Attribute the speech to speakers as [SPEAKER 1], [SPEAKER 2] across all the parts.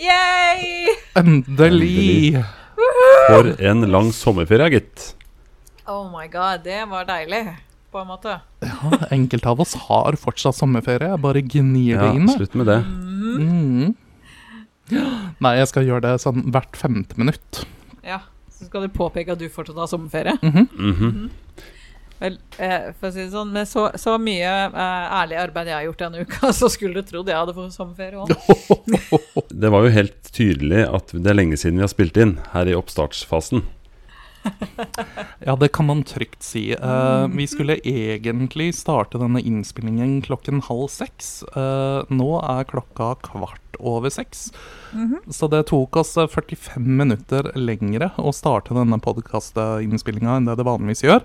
[SPEAKER 1] Yay!
[SPEAKER 2] Endelig!
[SPEAKER 3] For en lang sommerferie, gitt.
[SPEAKER 1] Oh my god, det var deilig, på en måte.
[SPEAKER 2] Ja, enkelte av oss har fortsatt sommerferie. Jeg bare gnir
[SPEAKER 3] Ja,
[SPEAKER 2] det inn. jeg.
[SPEAKER 3] slutt med det.
[SPEAKER 2] Mm. Nei, jeg skal gjøre det sånn hvert femte minutt.
[SPEAKER 1] Ja, Så skal du påpeke at du fortsatt har sommerferie?
[SPEAKER 3] Mhm.
[SPEAKER 1] Vel, eh, for å si det sånn, med så, så mye eh, ærlig arbeid jeg har gjort denne uka, så skulle du trodd jeg hadde fått sommerferie òg.
[SPEAKER 3] Det var jo helt tydelig at det er lenge siden vi har spilt inn her i oppstartsfasen.
[SPEAKER 2] Ja, det kan man trygt si. Eh, vi skulle egentlig starte denne innspillingen klokken halv seks. Eh, nå er klokka kvart over seks. Så det tok oss eh, 45 minutter lengre å starte denne podkastinnspillinga enn det det vanligvis gjør.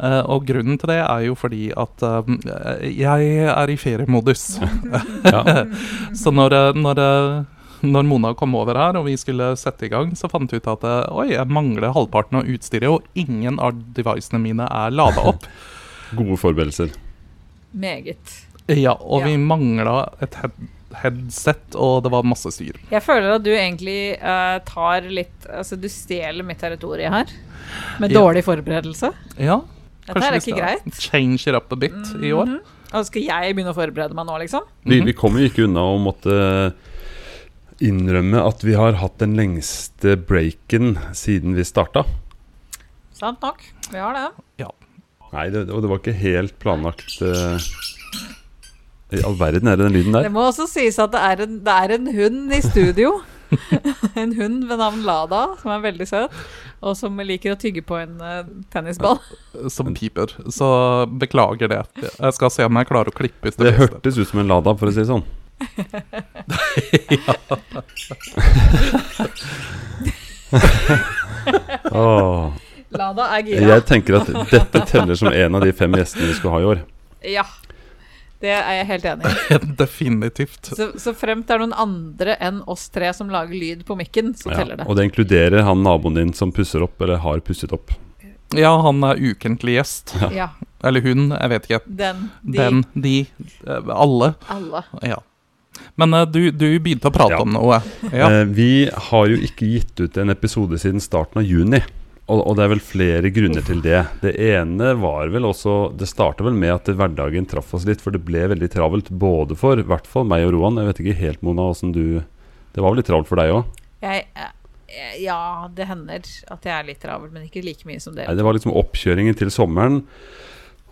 [SPEAKER 2] Eh, og grunnen til det er jo fordi at eh, jeg er i feriemodus.
[SPEAKER 3] Ja.
[SPEAKER 2] Så når, eh, når, eh, når Mona kom over her og vi skulle sette i gang, så fant vi ut at eh, oi, jeg mangler halvparten av utstyret, og ingen av devicene mine er lada opp.
[SPEAKER 3] Gode forberedelser.
[SPEAKER 1] Meget.
[SPEAKER 2] ja, og
[SPEAKER 1] Ja.
[SPEAKER 2] vi mangla et head headset, og det var masse styr.
[SPEAKER 1] Jeg føler at du egentlig eh, tar litt Altså, du stjeler mitt territorium her. Med
[SPEAKER 2] Ja.
[SPEAKER 1] dårlig forberedelse.
[SPEAKER 2] Ja,
[SPEAKER 1] Dette her er
[SPEAKER 2] kanskje vi
[SPEAKER 1] ikke
[SPEAKER 2] skal
[SPEAKER 1] greit.
[SPEAKER 2] Change it up a bit i år.
[SPEAKER 1] Og skal jeg begynne å forberede meg nå, liksom?
[SPEAKER 3] Vi, vi kommer jo ikke unna å måtte eh, innrømme at vi har hatt den lengste breaken siden vi starta.
[SPEAKER 1] Sant nok. Vi har det.
[SPEAKER 3] Nei, det, og det var ikke helt planlagt eh, I all verden er det den lyden
[SPEAKER 1] Det
[SPEAKER 3] der?
[SPEAKER 1] må også sies at det er en, det er en hund i studio. en hund ved navn Lada, som er veldig søt, og som liker å tygge på en eh, tennisball. Mhm.
[SPEAKER 2] Som piper. Så beklager det. Jeg skal se om jeg klarer å klippe ut
[SPEAKER 3] Det
[SPEAKER 2] det. beste.
[SPEAKER 3] hørtes ut som en Lada, for å si det sånn. Åh.
[SPEAKER 1] Lada er gira.
[SPEAKER 3] Jeg tenker at dette teller som en av de fem gjestene vi skulle ha i år.
[SPEAKER 1] Ja. Det er jeg helt enig i.
[SPEAKER 2] Definitivt.
[SPEAKER 1] Så, så fremt det er noen andre enn oss tre som lager lyd på mikken, så
[SPEAKER 3] Ja,
[SPEAKER 1] teller det.
[SPEAKER 3] og det inkluderer han naboen din som pusser opp, eller har pusset opp.
[SPEAKER 2] Ja, han er ukentlig gjest.
[SPEAKER 1] Ja.
[SPEAKER 2] Eller hun, jeg vet ikke.
[SPEAKER 1] Den, de,
[SPEAKER 2] Den, de, eh, alle.
[SPEAKER 1] alle.
[SPEAKER 2] Ja. Men eh, du, du begynte å prate
[SPEAKER 3] Ja.
[SPEAKER 2] om noe. Ja.
[SPEAKER 3] Eh, vi har jo ikke gitt ut en episode siden starten av juni. Og, og det er vel flere grunner til det. Det ene var vel også Det starta vel med at hverdagen traff oss litt, for det ble veldig travelt både for i hvert fall meg og Roan. Jeg vet ikke helt, Mona, åssen du Det var vel litt travelt for deg òg?
[SPEAKER 1] Jeg, eh, ja, det hender at jeg er litt travel, men ikke like mye som dere.
[SPEAKER 3] Nei, det var liksom oppkjøringen til sommeren.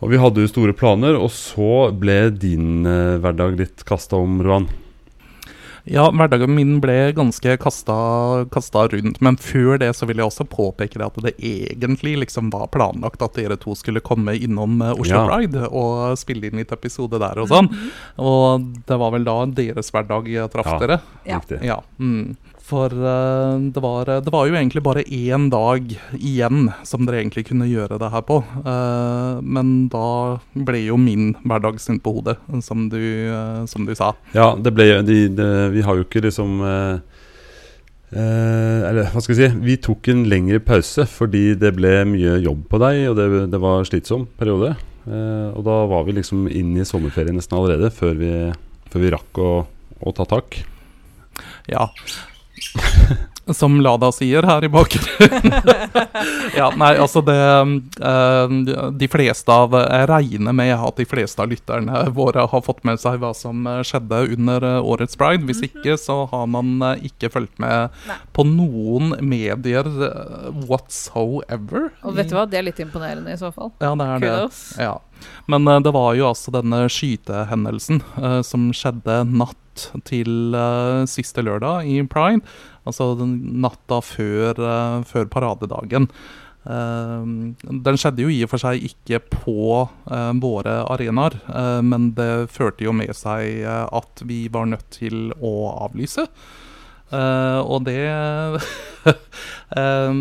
[SPEAKER 3] Og vi hadde jo store planer, og så ble din eh, hverdag litt kasta om, Roan.
[SPEAKER 2] ja, hverdagen min ble ganske kasta, kasta rundt. Men før det så vil jeg også påpeke det at det egentlig liksom var planlagt at dere to skulle komme innom eh, Oslo
[SPEAKER 3] Ja.
[SPEAKER 2] Pride og spille inn litt episode der og sånn. Og det var vel da deres hverdag eh, traff
[SPEAKER 3] Ja.
[SPEAKER 2] dere.
[SPEAKER 1] Ja.
[SPEAKER 3] Riktig.
[SPEAKER 2] Ja. Mm. For eh, det, var, det var jo egentlig bare én dag igjen som dere egentlig kunne gjøre det her på. Eh, men da ble jo min hverdag snudd på hodet, som du, eh, som du sa.
[SPEAKER 3] Ja, det ble jo de, de, Vi har jo ikke liksom eh, eh, Eller hva skal jeg si Vi tok en lengre pause fordi det ble mye jobb på deg, og det, det var slitsom periode. Eh, og da var vi liksom inn i sommerferien nesten allerede før vi, før vi rakk å, å ta tak.
[SPEAKER 2] Ja. Som Lada sier her i bakgrunnen. ja, nei, altså det eh, De fleste av Jeg regner med at de fleste av lytterne våre har fått med seg hva som eh, skjedde under eh, årets pride. Hvis ikke, så har man eh, ikke fulgt med
[SPEAKER 1] Mhm. Nei.
[SPEAKER 2] på noen medier eh, whatsoever.
[SPEAKER 1] Og vet du hva, det er litt imponerende i så fall.
[SPEAKER 2] Ja, det er det.
[SPEAKER 1] Kudos.
[SPEAKER 2] Ja. Men eh, det var jo altså denne skytehendelsen eh, som skjedde natt til eh, siste lørdag i Pride. Altså den natta før, eh, før paradedagen. Eh, den skjedde jo i og for seg ikke på eh, våre arenaer, eh, men det førte jo med seg eh, at vi var nødt til å avlyse. Eh, og det eh,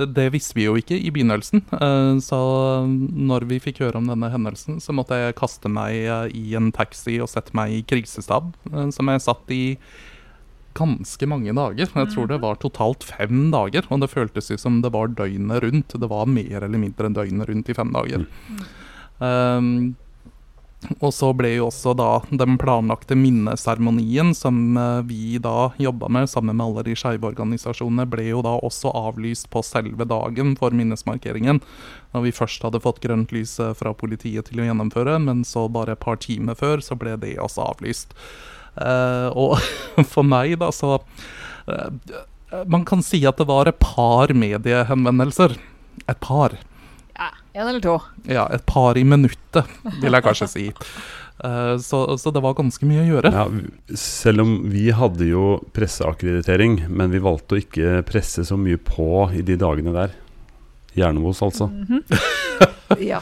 [SPEAKER 2] det, det visste vi jo ikke i begynnelsen. Eh, så når vi fikk høre om denne hendelsen, så måtte jeg kaste meg eh, i en taxi og sette meg i krisestab, eh, som jeg satt i ganske mange dager. Jeg tror det var totalt fem dager, og det føltes ut som det var døgnet rundt. Det var mer eller mindre døgnet rundt i fem dager. Um, og så ble jo også da den planlagte minneseremonien som eh, vi da jobba med sammen med alle de skeive organisasjonene, ble jo da også avlyst på selve dagen for minnesmarkeringen. Når vi først hadde fått grønt lys eh, fra politiet til å gjennomføre, men så bare et par timer før så ble det også avlyst. Eh, og for meg, da, så eh, Man kan si at det var et par mediehenvendelser. Et par.
[SPEAKER 1] Ja, en eller to.
[SPEAKER 2] Ja, et par i minuttet, vil jeg kanskje si. Eh, så, så det var ganske mye å gjøre.
[SPEAKER 3] Ja, v- selv om vi hadde jo presseakkreditering, men vi valgte å ikke presse så mye på i de dagene der. Hjernemos, altså.
[SPEAKER 1] Mhm. Ja.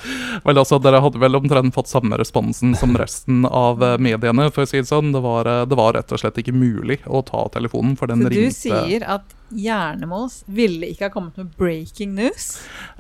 [SPEAKER 2] Vel, altså, Dere hadde vel omtrent fått samme responsen som resten av eh, mediene. for å si Det sånn. Det var, eh, det var rett og slett ikke mulig å ta telefonen, for den
[SPEAKER 1] Så du
[SPEAKER 2] ringte
[SPEAKER 1] sier at Hjernemos ville ikke ha kommet med breaking news?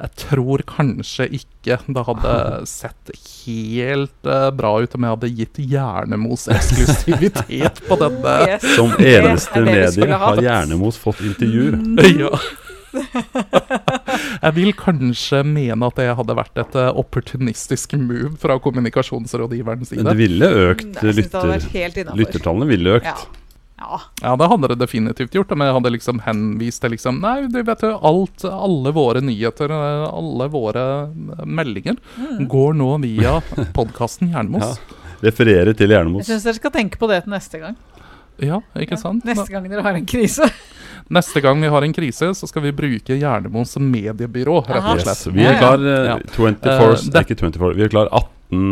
[SPEAKER 2] Jeg tror kanskje ikke det hadde sett helt eh, bra ut om jeg hadde gitt Hjernemos eksklusivitet på denne.
[SPEAKER 1] Yes,
[SPEAKER 3] Som
[SPEAKER 1] det er
[SPEAKER 3] eneste
[SPEAKER 1] det vi
[SPEAKER 3] medie
[SPEAKER 1] skulle
[SPEAKER 3] har
[SPEAKER 1] hatt.
[SPEAKER 3] Hjernemos fått intervjuer.
[SPEAKER 2] Ja. Mm. Jeg vil kanskje mene at det hadde vært et eh, opportunistisk move fra kommunikasjonsrådgiverens
[SPEAKER 3] Men det
[SPEAKER 2] side.
[SPEAKER 3] ville økt
[SPEAKER 1] Nei, Mm, Jeg synes det hadde
[SPEAKER 3] lytter,
[SPEAKER 1] vært helt innafor.
[SPEAKER 3] lyttertallene. ville økt.
[SPEAKER 1] Ja. ja.
[SPEAKER 2] Ja, det hadde det definitivt gjort, men jeg hadde liksom henvist til liksom Nei, du vet jo, alt, alle våre nyheter, eh, alle våre eh, meldinger
[SPEAKER 1] Mm.
[SPEAKER 3] Mm.
[SPEAKER 2] går nå via podkasten
[SPEAKER 3] Ja.
[SPEAKER 2] Jernmos.
[SPEAKER 3] Referere til
[SPEAKER 1] Jeg
[SPEAKER 3] Hjernemos.
[SPEAKER 1] syns dere skal tenke på det til neste gang.
[SPEAKER 2] Ja. ikke sant?
[SPEAKER 1] Neste gang dere har en krise.
[SPEAKER 2] Neste gang vi har en krise, så skal vi bruke Jernemos som mediebyrå, rett og
[SPEAKER 1] Aha.
[SPEAKER 2] slett.
[SPEAKER 3] Yes. Vi er klar eh,
[SPEAKER 2] Ja.
[SPEAKER 3] 24,
[SPEAKER 2] Eh,
[SPEAKER 3] nei, ikke 24, vi er klar 18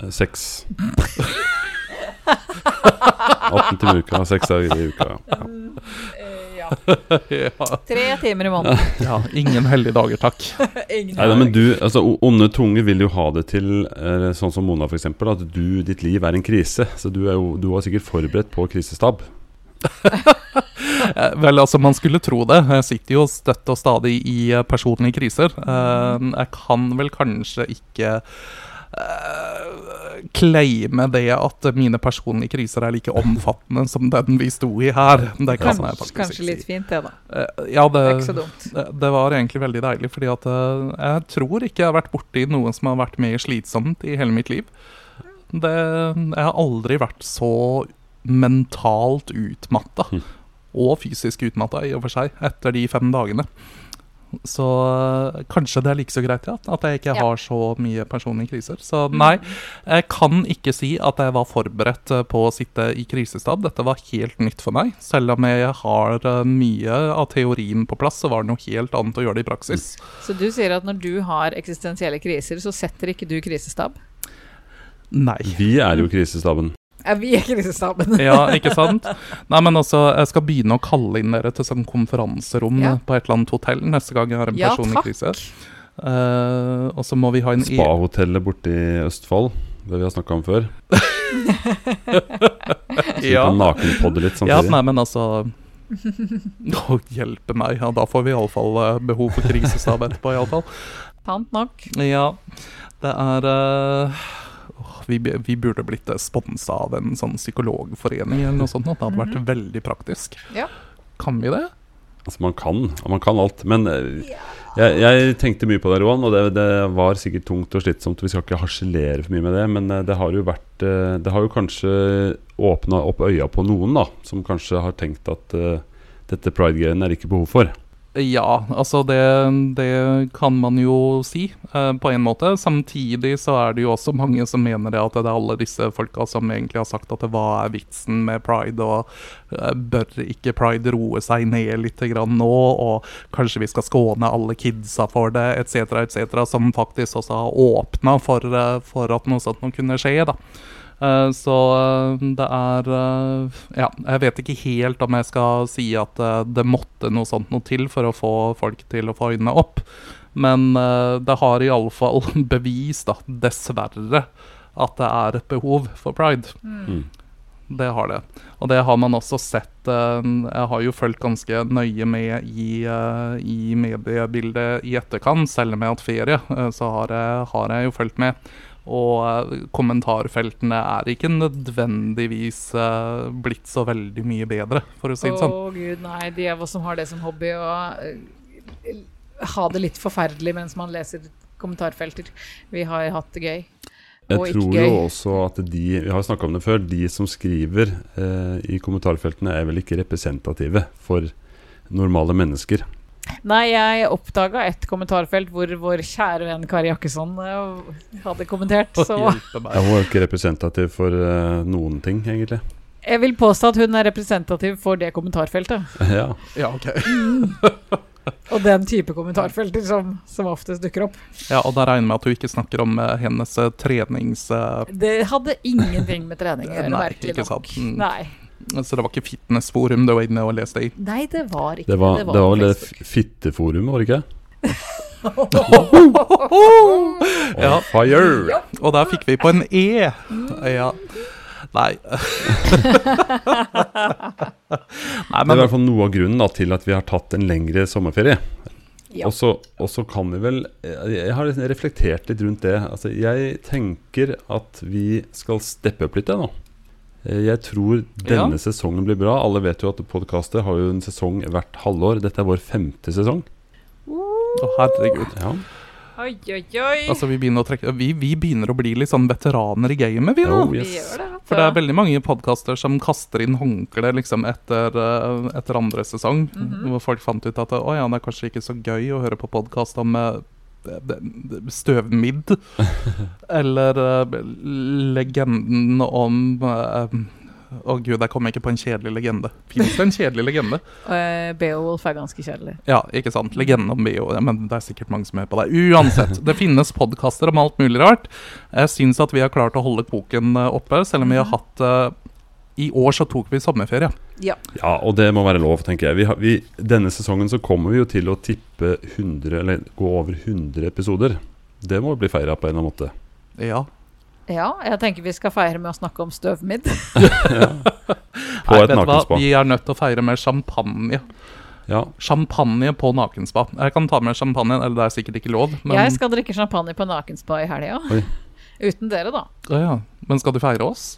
[SPEAKER 3] eh, 6. 18 timer i uka, 6 dager i uka. Ja.
[SPEAKER 1] Mm, eh, Ja.
[SPEAKER 2] Ja,
[SPEAKER 1] Tre timer i måneden.
[SPEAKER 2] ja, ingen heldige dager, takk.
[SPEAKER 1] Ingen
[SPEAKER 3] Nei, da, men du, altså o- Onde tunge vil jo ha det til, eh, sånn som Mona f.eks., at du, ditt liv er en krise. Så du, er jo, du var sikkert forberedt på krisestab.
[SPEAKER 2] Eh, Vel, altså, man skulle tro det. Jeg sitter jo støtt og stadig i eh, personlige kriser. Eh, Jeg kan vel kanskje ikke eh, claime det at mine personlige kriser er like omfattende som den vi sto i her. Det kan
[SPEAKER 3] sånn
[SPEAKER 1] Kanskje,
[SPEAKER 2] jeg faktisk
[SPEAKER 1] kanskje
[SPEAKER 2] ikke
[SPEAKER 1] litt
[SPEAKER 2] si.
[SPEAKER 1] fint, det, da.
[SPEAKER 2] Eh, Ja,
[SPEAKER 1] Det er ikke så
[SPEAKER 2] det,
[SPEAKER 1] dumt.
[SPEAKER 2] det det var egentlig veldig deilig, fordi at eh, jeg tror ikke jeg har vært borti noe som har vært mer slitsomt i hele mitt liv. Det, jeg har aldri vært så mentalt utmatta,
[SPEAKER 3] Mm.
[SPEAKER 2] og fysisk utmatta i og for seg, etter de fem dagene. Så eh, kanskje det er like så greit ja, at jeg ikke
[SPEAKER 1] Ja.
[SPEAKER 2] har så mye personlige kriser. Så nei, jeg kan ikke si at jeg var forberedt eh, på å sitte i krisestab. Dette var helt nytt for meg. Selv om jeg har eh, mye av teorien på plass, så var det noe helt annet å gjøre det i praksis.
[SPEAKER 1] Så du sier at når du har eksistensielle kriser, så setter ikke du krisestab?
[SPEAKER 2] Nei.
[SPEAKER 3] Vi er jo krisestaben.
[SPEAKER 1] Er vi er krisestaben?
[SPEAKER 2] Ja, ikke sant? Nei, men altså, jeg skal begynne å kalle inn dere til sånn konferanserom
[SPEAKER 1] Ja.
[SPEAKER 2] eh, på et eller annet hotell neste gang jeg har en
[SPEAKER 1] Ja,
[SPEAKER 2] personlig
[SPEAKER 1] takk.
[SPEAKER 2] krise. Eh, og så må vi ha en e-
[SPEAKER 3] Spahotellet borte i Østfold, det vi har snakka om før. Så vi
[SPEAKER 2] Ja.
[SPEAKER 3] kan nakenpodde litt
[SPEAKER 2] Ja,
[SPEAKER 3] samtidig.
[SPEAKER 2] nei, men altså Å, hjelpe meg. Ja, da får vi iallfall uh, behov for krisestab etterpå, iallfall.
[SPEAKER 1] Sant nok.
[SPEAKER 2] Ja, det er eh, åh, vi, b- vi burde blitt sponsa av en sånn psykologforening eller noe sånt. nå. Det hadde vært veldig praktisk.
[SPEAKER 1] Mhm. Ja.
[SPEAKER 2] Kan vi det?
[SPEAKER 3] Altså, man kan, man kan alt. Men eh, jeg, jeg tenkte mye på det, Roan, og det, det var sikkert tungt og slitsomt. Vi skal ikke harselere for mye med det, men eh, det har jo vært eh, Det har jo kanskje åpna opp øya på noen, da, som kanskje har tenkt at eh, dette pride-greiene er det ikke behov for.
[SPEAKER 2] Ja, altså det, det kan man jo si eh, på en måte. Samtidig så er det jo også mange som mener det at det er alle disse folka som egentlig har sagt at hva er vitsen med pride, og eh, bør ikke pride roe seg ned litt grann nå, og kanskje vi skal skåne alle kidsa for det, etc., etc., som faktisk også har åpna for, eh, for at noe sånt nå kunne skje, da. Eh, Så eh, det er eh, Ja, jeg vet ikke helt om jeg skal si at eh, det måtte noe sånt noe til for å få folk til å få øynene opp, men eh, det har iallfall
[SPEAKER 1] Mm.
[SPEAKER 3] Mm.
[SPEAKER 2] bevis, da, dessverre, at det er et behov for pride. det har det. Og det har man også sett eh, Jeg har jo fulgt ganske nøye med i, eh, i mediebildet i etterkant, selv om jeg har hatt ferie, eh, så har jeg, har jeg jo fulgt med. Og eh, kommentarfeltene er ikke nødvendigvis eh, blitt så veldig mye bedre, for å si det sånn.
[SPEAKER 1] Å gud, nei. De av oss som har det som hobby, å eh, ha det litt forferdelig mens man leser kommentarfelter. Vi har hatt det gøy.
[SPEAKER 3] Jeg
[SPEAKER 1] Og ikke
[SPEAKER 3] tror
[SPEAKER 1] gøy.
[SPEAKER 3] jo også at de Vi har snakka om det før. De som skriver eh, i kommentarfeltene, er vel ikke representative for normale mennesker.
[SPEAKER 1] Nei, jeg oppdaga et kommentarfelt hvor vår kjære venn Kari Jakkesson eh, hadde kommentert,
[SPEAKER 2] Å,
[SPEAKER 1] så
[SPEAKER 2] hjelpe
[SPEAKER 3] Ja,
[SPEAKER 2] meg.
[SPEAKER 3] hun er jo ikke representativ for eh, noen ting, egentlig.
[SPEAKER 1] jeg vil påstå at hun er representativ for det kommentarfeltet.
[SPEAKER 3] ja.
[SPEAKER 2] Ja, ok.
[SPEAKER 1] Og den type kommentarfelter som, som oftest dukker opp.
[SPEAKER 2] Ja, og da regner jeg med at hun ikke snakker om eh, hennes eh, trenings... eh,
[SPEAKER 1] Det hadde ingenting med trening å gjøre,
[SPEAKER 2] Nei,
[SPEAKER 1] merkelig
[SPEAKER 2] ikke sant.
[SPEAKER 1] nok.
[SPEAKER 2] Mm.
[SPEAKER 1] Nei.
[SPEAKER 2] så det var ikke fitnessforum du var inne og leste i.
[SPEAKER 1] Nei, det var ikke
[SPEAKER 3] Det var, det var vel det
[SPEAKER 1] Facebook.
[SPEAKER 3] f- fitteforumet, var det ikke? On
[SPEAKER 2] Ja.
[SPEAKER 3] fire!
[SPEAKER 2] Og der fikk vi på en E. Ja. Nei. Nei,
[SPEAKER 3] Det er i
[SPEAKER 2] men
[SPEAKER 3] hvert fall noe av grunnen da, til at vi har tatt en lengre sommerferie.
[SPEAKER 1] Ja.
[SPEAKER 3] Og så og så kan vi vel Jeg jeg har liksom reflektert litt rundt det. Altså, jeg tenker at vi skal steppe opp litt jeg, nå. Eh, Jeg tror
[SPEAKER 2] Ja.
[SPEAKER 3] denne sesongen blir bra. Alle vet jo at podkastet har jo en sesong hvert halvår. Dette er vår femte sesong.
[SPEAKER 2] Å, herregud.
[SPEAKER 3] Ja.
[SPEAKER 1] Oi, oi, oi.
[SPEAKER 2] Altså, vi begynner å trekke Vi, vi begynner å bli litt sånn veteraner i gamet, vi nå.
[SPEAKER 3] Jo,
[SPEAKER 1] Vi
[SPEAKER 3] yes.
[SPEAKER 1] gjør det. altså. vet
[SPEAKER 2] For det er
[SPEAKER 1] du.
[SPEAKER 2] veldig mange podkaster som kaster inn håndkle liksom, etter, eh, etter andre sesong. Hvor folk fant ut at å, ja, det er kanskje ikke så gøy å høre på podkast om eh, d- d- støvmidd. Eller eh, legenden om eh, Å gud, jeg kom ikke på en kjedelig legende. Fins det en kjedelig legende?
[SPEAKER 1] Eh, Beowulf er ganske kjedelig.
[SPEAKER 2] Ja, ikke sant. Legenden om Bio. Ja, Men det er sikkert mange som hører på deg. Uansett, det finnes podkaster om alt mulig rart. Jeg syns at vi har klart å holde koken eh, oppe, selv om vi har hatt eh, I år så tok vi sommerferie.
[SPEAKER 3] Ja, og det må være lov, tenker jeg. Vi har, vi, denne sesongen så kommer vi jo til å tippe 100, eller gå over 100 episoder. Det må bli feira på en eller annen måte.
[SPEAKER 2] Ja.
[SPEAKER 1] Ja, jeg tenker vi skal feire med å snakke om støvmidd.
[SPEAKER 3] På et
[SPEAKER 2] vet du hva?
[SPEAKER 3] nakenspa.
[SPEAKER 2] Vi er nødt til å feire med champagne.
[SPEAKER 3] Ja,
[SPEAKER 2] Champagne på nakenspa. Jeg kan ta med champagne, eller det er sikkert ikke lov, men
[SPEAKER 1] Jeg skal drikke champagne på nakenspa i helga.
[SPEAKER 3] Oi.
[SPEAKER 1] Uten dere, da.
[SPEAKER 2] Å ja. Men skal du feire oss?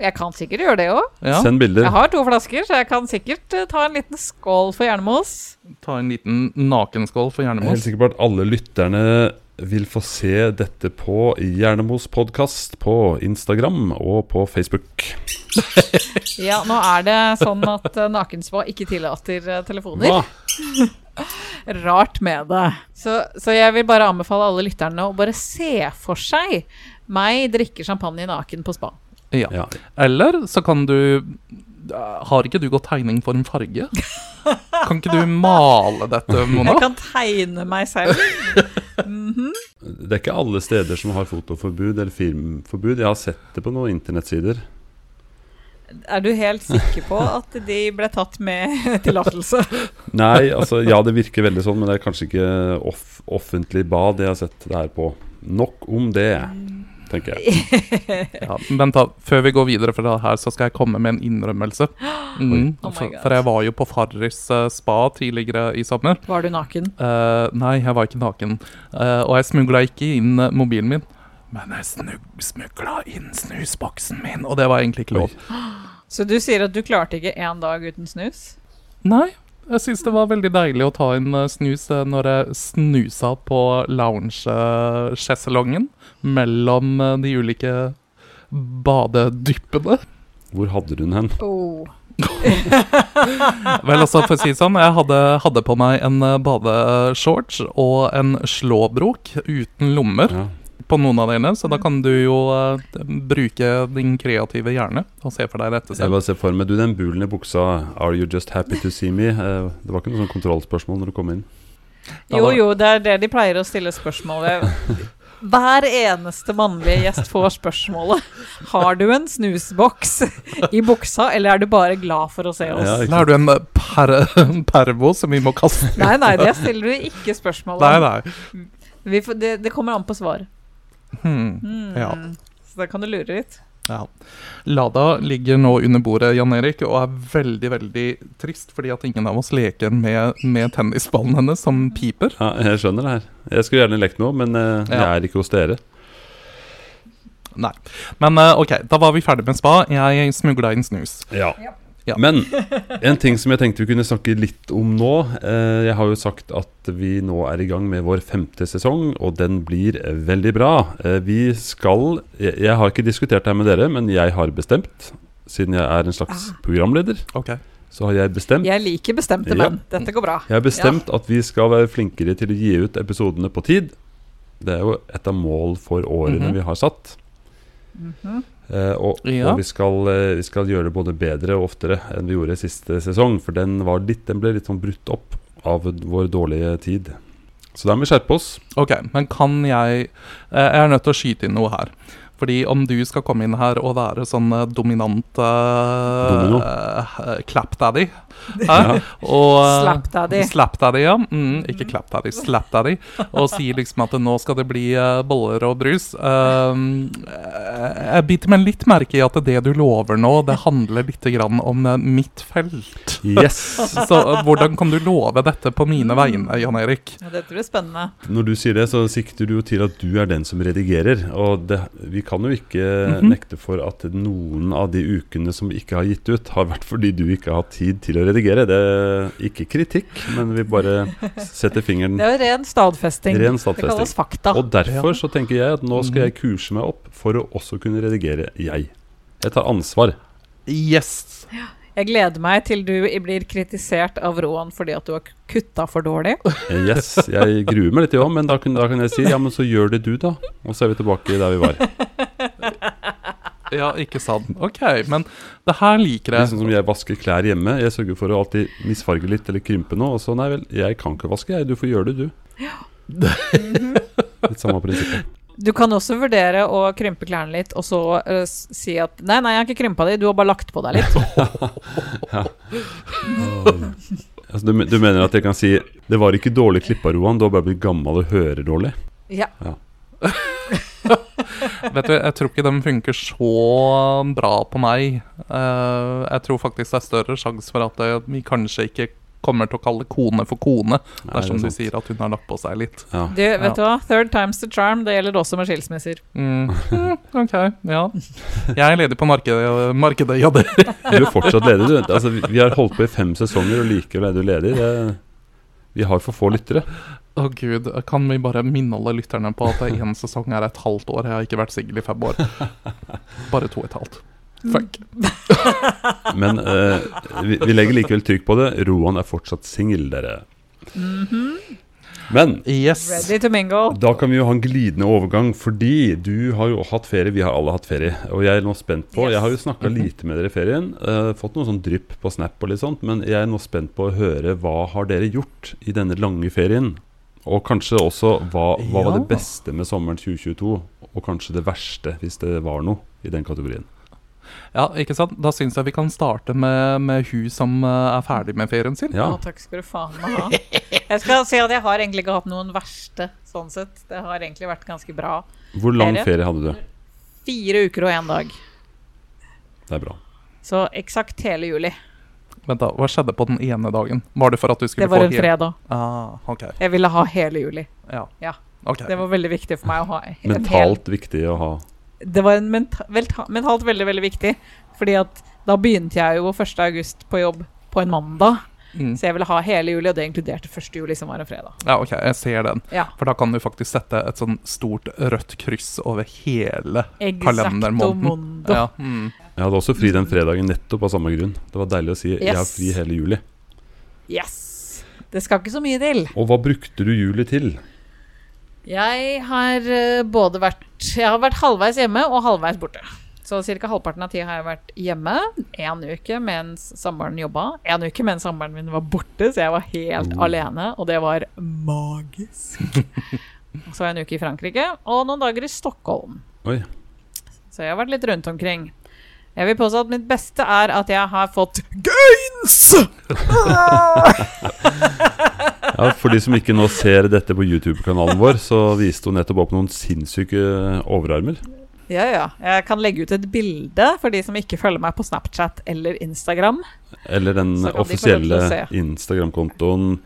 [SPEAKER 1] Jeg kan sikkert gjøre det òg.
[SPEAKER 2] Ja.
[SPEAKER 3] Send bilder.
[SPEAKER 1] Jeg har to flasker, så jeg kan sikkert eh, ta en liten skål for Jernmos.
[SPEAKER 2] Ta en liten nakenskål for
[SPEAKER 3] Jeg er helt
[SPEAKER 2] Hjernemos.
[SPEAKER 3] sikker på at alle lytterne vil få se dette på Hjernemos podkast på Instagram og på Facebook.
[SPEAKER 1] Ja, nå er det sånn at eh, nakenspa ikke tillater eh, telefoner.
[SPEAKER 3] Hva?
[SPEAKER 1] Rart med det. Så, så jeg vil bare anbefale alle lytterne å bare se for seg meg drikke champagne naken på spa.
[SPEAKER 2] Ja.
[SPEAKER 3] Ja.
[SPEAKER 2] Eller så kan du Har ikke du gått tegning for en farge? Kan ikke du male dette,
[SPEAKER 1] Jeg
[SPEAKER 2] Mona?
[SPEAKER 1] kan tegne meg selv.
[SPEAKER 3] Det er ikke alle steder som har fotoforbud eller filmforbud. Jeg har sett det på noen internettsider.
[SPEAKER 1] Er du helt sikker på at de ble tatt med tillatelse?
[SPEAKER 3] Nei, altså ja, det virker veldig sånn, men det er kanskje ikke off offentlig bad jeg har sett det her på. Nok om det, tenker jeg.
[SPEAKER 2] Ja, vent, da. Før vi går videre fra det her, så skal jeg komme med en innrømmelse. Mm,
[SPEAKER 1] Oh my
[SPEAKER 2] for,
[SPEAKER 1] God.
[SPEAKER 2] for jeg var jo på Farris eh, spa tidligere i sommer.
[SPEAKER 1] Var du naken?
[SPEAKER 2] Eh, nei, jeg var ikke naken. Eh, og jeg smugla ikke inn eh, mobilen min. Men jeg snug- smugla inn snusboksen min, og det var egentlig ikke lov.
[SPEAKER 1] Så du sier at du klarte ikke én dag uten snus?
[SPEAKER 2] Nei, jeg syns det var veldig deilig å ta en eh, snus eh, når jeg snusa på lounge-sjeselongen mellom eh, de ulike badedyppene.
[SPEAKER 3] Hvor hadde du den hen?
[SPEAKER 1] Oh.
[SPEAKER 2] Vel, altså, for å si det sånn, jeg hadde, hadde på meg en eh, badeshorts og en slåbrok uten lommer
[SPEAKER 3] Ja.
[SPEAKER 2] på noen av delene, så da kan du jo eh, bruke din kreative hjerne og se for deg dette
[SPEAKER 3] Jeg
[SPEAKER 2] selv.
[SPEAKER 3] bare ser for meg Du, den bulen i buksa, are you just happy to see me? Eh, Det var ikke noe sånn kontrollspørsmål når du kom inn.
[SPEAKER 1] Jo, jo, det er det de pleier å stille spørsmål ved. Hver eneste mannlige gjest får spørsmålet Har du en snusboks i buksa, eller er du bare glad for å se
[SPEAKER 3] Ja,
[SPEAKER 1] oss?
[SPEAKER 3] ikke
[SPEAKER 2] Da er du en eh, per pervo som vi må kaste.
[SPEAKER 1] Nei, nei, det stiller du ikke spørsmål
[SPEAKER 2] Nei,
[SPEAKER 1] om.
[SPEAKER 2] nei.
[SPEAKER 1] Vi får, det, det kommer an på svar.
[SPEAKER 2] Hmm.
[SPEAKER 1] Mm.
[SPEAKER 2] Ja.
[SPEAKER 1] Så da kan du lure litt.
[SPEAKER 2] Ja. Lada ligger nå under bordet Jan Erik, og er veldig veldig trist fordi at ingen av oss leker med, med tennisballen hennes, som piper.
[SPEAKER 3] Ja, jeg skjønner det her. Jeg skulle gjerne lekt noe, men eh, jeg
[SPEAKER 2] Ja.
[SPEAKER 3] er ikke hos dere.
[SPEAKER 2] Nei. Men eh, ok, da var vi ferdig med spa. Jeg smugla inn snus.
[SPEAKER 3] Ja.
[SPEAKER 2] Ja.
[SPEAKER 3] Men en ting som jeg tenkte vi kunne snakke litt om nå eh, Jeg har jo sagt at vi nå er i gang med vår femte sesong, og den blir veldig bra. Eh, vi skal jeg, jeg har ikke diskutert det her med dere, men jeg har bestemt. Siden jeg er en slags
[SPEAKER 2] Ah.
[SPEAKER 3] programleder,
[SPEAKER 2] Ok.
[SPEAKER 3] så har jeg bestemt
[SPEAKER 1] Jeg liker bestemte
[SPEAKER 3] Ja.
[SPEAKER 1] menn. Dette går bra.
[SPEAKER 3] Jeg har bestemt at vi skal være flinkere til å gi ut episodene på tid. Det er jo et av mål for årene
[SPEAKER 2] Mhm.
[SPEAKER 3] vi har satt.
[SPEAKER 1] Mhm.
[SPEAKER 3] Eh, og
[SPEAKER 2] Ja.
[SPEAKER 3] og vi, skal, eh, vi skal gjøre det både bedre og oftere enn vi gjorde siste sesong. For den, var litt, den ble litt sånn brutt opp av vår dårlige tid. Så da må vi skjerpe oss.
[SPEAKER 2] Ok, men kan jeg eh, Jeg er nødt til å skyte inn noe her. Fordi om du skal komme inn her og være sånn eh, dominant eh,
[SPEAKER 3] Domino.
[SPEAKER 2] uh, Clap-daddy eh,
[SPEAKER 3] Ja.
[SPEAKER 2] og, eh,
[SPEAKER 1] Slap-daddy.
[SPEAKER 2] Slap-daddy, ja. Mm, ikke clap-daddy, slap-daddy. Og sier liksom at nå skal det bli eh, boller og brus. Um, eh, jeg biter meg litt merke i at det du lover nå, det handler litt grann om eh, mitt felt.
[SPEAKER 3] Yes!
[SPEAKER 2] Så eh, hvordan kan du love dette på mine vegne, Jan Erik?
[SPEAKER 1] Ja, Dette blir spennende.
[SPEAKER 3] Når du sier det, så sikter du jo til at du er den som redigerer. Og det, vi kan jo ikke
[SPEAKER 2] Mhm.
[SPEAKER 3] nekte for at noen av de ukene som vi ikke har gitt ut, har vært fordi du ikke har hatt tid til å redigere. Det er ikke kritikk, men vi bare setter fingeren
[SPEAKER 1] Det er jo ren stadfesting.
[SPEAKER 3] ren
[SPEAKER 1] Det kalles
[SPEAKER 3] stadfesting.
[SPEAKER 2] Ah.
[SPEAKER 1] fakta.
[SPEAKER 3] Og derfor så tenker jeg at nå skal jeg kurse meg opp for å også kunne redigere jeg. Jeg tar ansvar.
[SPEAKER 2] Yes!
[SPEAKER 1] Jeg gleder meg til du blir kritisert av Roan fordi at du har kutta for dårlig.
[SPEAKER 3] Eh, Yes, jeg gruer meg litt, jo, men da, kan- da kan jeg si ja, men så gjør det du, da. Og så er vi tilbake der vi var.
[SPEAKER 2] Ja, ikke sant. Ok, men det her liker
[SPEAKER 3] Litt sånn som
[SPEAKER 2] jeg.
[SPEAKER 3] jeg vasker klær hjemme. Jeg sørger for å alltid misfarge litt eller krympe noe. Og så nei vel, jeg kan ikke vaske, jeg. Du får gjøre det, du. Litt samme prinsippet.
[SPEAKER 1] Du kan også vurdere å krympe klærne litt, og så eh, s- si at Nei, nei, jeg har ikke krympa de, du har bare lagt på deg litt.
[SPEAKER 3] Altså, du, men- du mener at jeg kan si det var ikke dårlig klippa, Roan, du har bare blitt gammel og hører dårlig?
[SPEAKER 1] Ja.
[SPEAKER 2] Vet du, Jeg tror ikke den funker så bra på meg. Eh, jeg tror faktisk det er større sjanse for at eh, vi kanskje ikke kommer til å kalle kone for kone,
[SPEAKER 3] Nei,
[SPEAKER 2] dersom
[SPEAKER 3] det er
[SPEAKER 2] du
[SPEAKER 3] sant.
[SPEAKER 2] sier at hun har lagt på seg litt.
[SPEAKER 3] Ja.
[SPEAKER 1] Du, vet
[SPEAKER 2] Ja.
[SPEAKER 1] du hva, third time's the charm. Det gjelder også med skilsmisser.
[SPEAKER 2] Mm. Mm, ok, ja. Jeg er ledig på markedet, markedet ja, det.
[SPEAKER 3] Du er fortsatt ledig, du. Altså, vi- vi har holdt på i fem sesonger, og likevel er du ledig. Det, vi har for få lyttere.
[SPEAKER 2] Å gud, kan vi bare minne alle lytterne på at én sesong er et halvt år? Jeg har ikke vært singel i fem år. Bare to og et halvt. Fuck.
[SPEAKER 3] Men eh, vi, vi legger likevel trykk på det. Roan er fortsatt singel, dere. Men
[SPEAKER 2] Yes.
[SPEAKER 1] Ready to mingle.
[SPEAKER 3] Da kan vi jo ha en glidende overgang, fordi du har jo hatt ferie. Vi har alle hatt ferie. Og jeg er nå spent på Jeg har jo snakka
[SPEAKER 2] Mhm.
[SPEAKER 3] lite med dere i ferien. eh, fått noen sånn drypp på Snap og litt sånt, men jeg er nå spent på å høre hva har dere gjort i denne lange ferien? Og kanskje også hva, hva var det
[SPEAKER 2] Ja.
[SPEAKER 3] beste med sommeren 2022? Og kanskje det verste, hvis det var noe i den kategorien.
[SPEAKER 2] Ja, ikke sant? Da syns jeg vi kan starte med, med hun som eh, er ferdig med ferien sin.
[SPEAKER 3] Ja.
[SPEAKER 1] Å, takk skal du faen meg ha. Jeg skal si at jeg har egentlig ikke hatt noen verste, sånn sett. Det har egentlig vært ganske bra.
[SPEAKER 3] Hvor lang
[SPEAKER 1] Ferie?
[SPEAKER 3] ferie hadde du?
[SPEAKER 1] Fire uker og én dag.
[SPEAKER 3] Det er bra.
[SPEAKER 1] Så eksakt hele juli.
[SPEAKER 2] Vent da, Hva skjedde på den ene dagen? Var det for at du skulle
[SPEAKER 1] Det var
[SPEAKER 2] få
[SPEAKER 1] en
[SPEAKER 2] hel-
[SPEAKER 1] fredag.
[SPEAKER 2] Ah, ok.
[SPEAKER 1] Jeg ville ha hele juli.
[SPEAKER 2] Ja.
[SPEAKER 1] Ja.
[SPEAKER 2] Ok.
[SPEAKER 1] Det var veldig viktig for meg å ha en hel-
[SPEAKER 3] Mentalt viktig å ha.
[SPEAKER 1] Det var en menta velta- mentalt veldig, veldig viktig. Fordi at da begynte jeg jo 1. august på jobb på en mandag.
[SPEAKER 2] Mm.
[SPEAKER 1] Så jeg ville ha hele juli, og det inkluderte 1. juli, som var en fredag.
[SPEAKER 2] ja, ok, jeg ser den.
[SPEAKER 1] Ja,
[SPEAKER 2] For da kan du faktisk sette et sånn stort rødt kryss over hele
[SPEAKER 1] Exacto
[SPEAKER 2] Kalendermåneden.
[SPEAKER 1] mondo.
[SPEAKER 2] ja, mm.
[SPEAKER 3] Jeg hadde også fri den fredagen nettopp av samme grunn. Det var deilig å si 'jeg har
[SPEAKER 1] Yes.
[SPEAKER 3] fri hele juli'.
[SPEAKER 1] Yes! Det skal ikke så mye til.
[SPEAKER 3] Og hva brukte du juli til?
[SPEAKER 1] Jeg har eh, både vært Jeg har vært halvveis hjemme og halvveis borte. Så ca. halvparten av tida har jeg vært hjemme. Én uke mens samboeren jobba. Én uke mens samboeren min var borte, så jeg var helt alene, og det var Oh. magisk. Og så var jeg en uke i Frankrike og noen dager i Stockholm.
[SPEAKER 3] Oi.
[SPEAKER 1] Så jeg har vært litt rundt omkring. Jeg vil påstå at mitt beste er at jeg har fått gains! Ah!
[SPEAKER 3] Ja, For de som ikke nå ser dette på YouTube-kanalen vår, så viste hun nettopp opp noen sinnssyke overarmer.
[SPEAKER 1] Ja, ja. Jeg kan legge ut et bilde for de som ikke følger meg på Snapchat eller Instagram.
[SPEAKER 3] Eller den
[SPEAKER 1] Så kan de få lov til å
[SPEAKER 3] offisielle
[SPEAKER 1] se.
[SPEAKER 3] Instagram-kontoen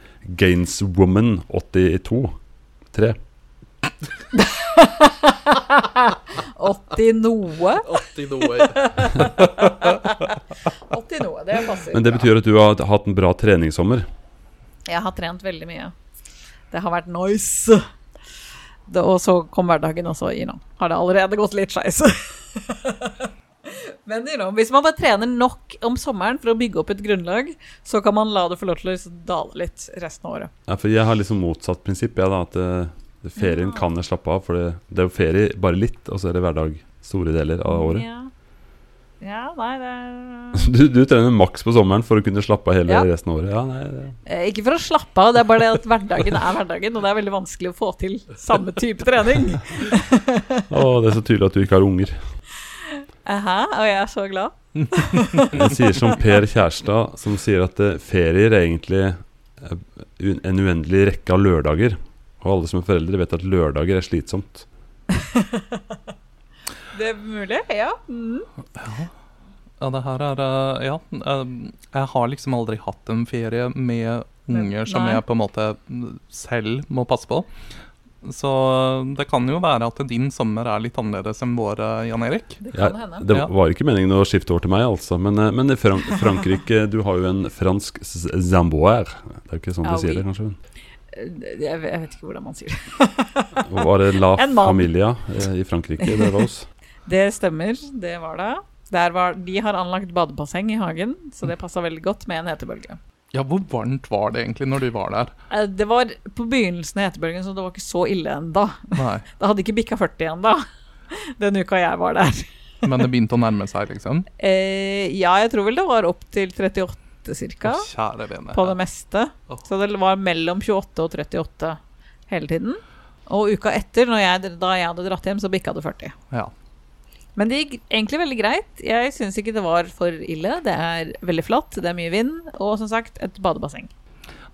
[SPEAKER 3] Gainswoman82. Tre.
[SPEAKER 1] 80 noe.
[SPEAKER 4] 80 noe.
[SPEAKER 1] 80 noe, det passer.
[SPEAKER 3] Men det
[SPEAKER 1] bra.
[SPEAKER 3] betyr at du har hatt en bra treningssommer.
[SPEAKER 1] Jeg har trent veldig mye. Det har vært nice. Det, og så kom hverdagen, og så you know, har det allerede gått litt skeis. Men you know, hvis man bare trener nok om sommeren for å bygge opp et grunnlag, så kan man la det få lov til å liksom dale litt resten av året.
[SPEAKER 3] Ja, for jeg har liksom motsatt prinsipp, jeg, da. At eh, ferien kan jeg slappe av. For det, det er jo ferie bare litt, og så er det hverdag store deler av året.
[SPEAKER 1] Ja, ja nei, det
[SPEAKER 3] Du, du trener maks på sommeren for å kunne slappe av hele
[SPEAKER 1] Ja.
[SPEAKER 3] resten av året. Ja, nei, det.
[SPEAKER 1] Eh, Ikke for å slappe av, det er bare det at hverdagen er hverdagen, og det er veldig vanskelig å få til samme type trening.
[SPEAKER 3] Å, det er så tydelig at du ikke har unger.
[SPEAKER 1] Aha, og jeg er så glad.
[SPEAKER 3] Jeg sier som Per Kjærstad, som sier at eh, ferier er egentlig eh, un- en uendelig rekke av lørdager. Og alle som er foreldre, vet at lørdager er slitsomt.
[SPEAKER 1] Det er mulig, ja. Mm.
[SPEAKER 2] Ja, det her er eh, Ja. eh, Jeg har liksom aldri hatt en ferie med unger som
[SPEAKER 1] Nei.
[SPEAKER 2] jeg på en måte selv må passe på. Så eh, det kan jo være at din sommer er litt annerledes enn vår, eh, Jan Erik.
[SPEAKER 1] Det
[SPEAKER 3] Ja,
[SPEAKER 1] kan hende.
[SPEAKER 3] det
[SPEAKER 2] Ja.
[SPEAKER 3] var ikke meningen å skifte over til meg, altså. Men, eh, men i Fran Frankrike Du har jo en fransk z- zamboer. Det er jo ikke sånn
[SPEAKER 1] Ah,
[SPEAKER 3] de sier
[SPEAKER 1] oui.
[SPEAKER 3] det, kanskje?
[SPEAKER 1] Eh, Jeg, jeg vet ikke hvordan man sier det.
[SPEAKER 3] Og Var det La
[SPEAKER 1] En mann.
[SPEAKER 3] Familia eh, i Frankrike det var oss?
[SPEAKER 1] Det stemmer, det var det. Der var, de har anlagt badebasseng i hagen, så det passa veldig godt med en hetebølge.
[SPEAKER 2] Ja, hvor varmt var det egentlig når du var der?
[SPEAKER 1] Eh, Det var på begynnelsen av hetebølgen, så det var ikke så ille ennå.
[SPEAKER 2] Nei,
[SPEAKER 1] Det hadde ikke bikka 40 ennå, den uka jeg var der.
[SPEAKER 2] men det begynte å nærme seg, liksom?
[SPEAKER 1] Eh, ja, jeg tror vel det var opp til 38
[SPEAKER 2] Å,
[SPEAKER 1] ca.
[SPEAKER 2] kjære vene.
[SPEAKER 1] på det meste.
[SPEAKER 2] Åh.
[SPEAKER 1] Så det var mellom 28 og 38 hele tiden. Og uka etter, når jeg, da jeg hadde dratt hjem, så bikka det 40.
[SPEAKER 2] Ja.
[SPEAKER 1] Men det gikk egentlig veldig greit. Jeg syns ikke det var for ille. Det er veldig flatt, det er mye vind, og som sagt, et badebasseng.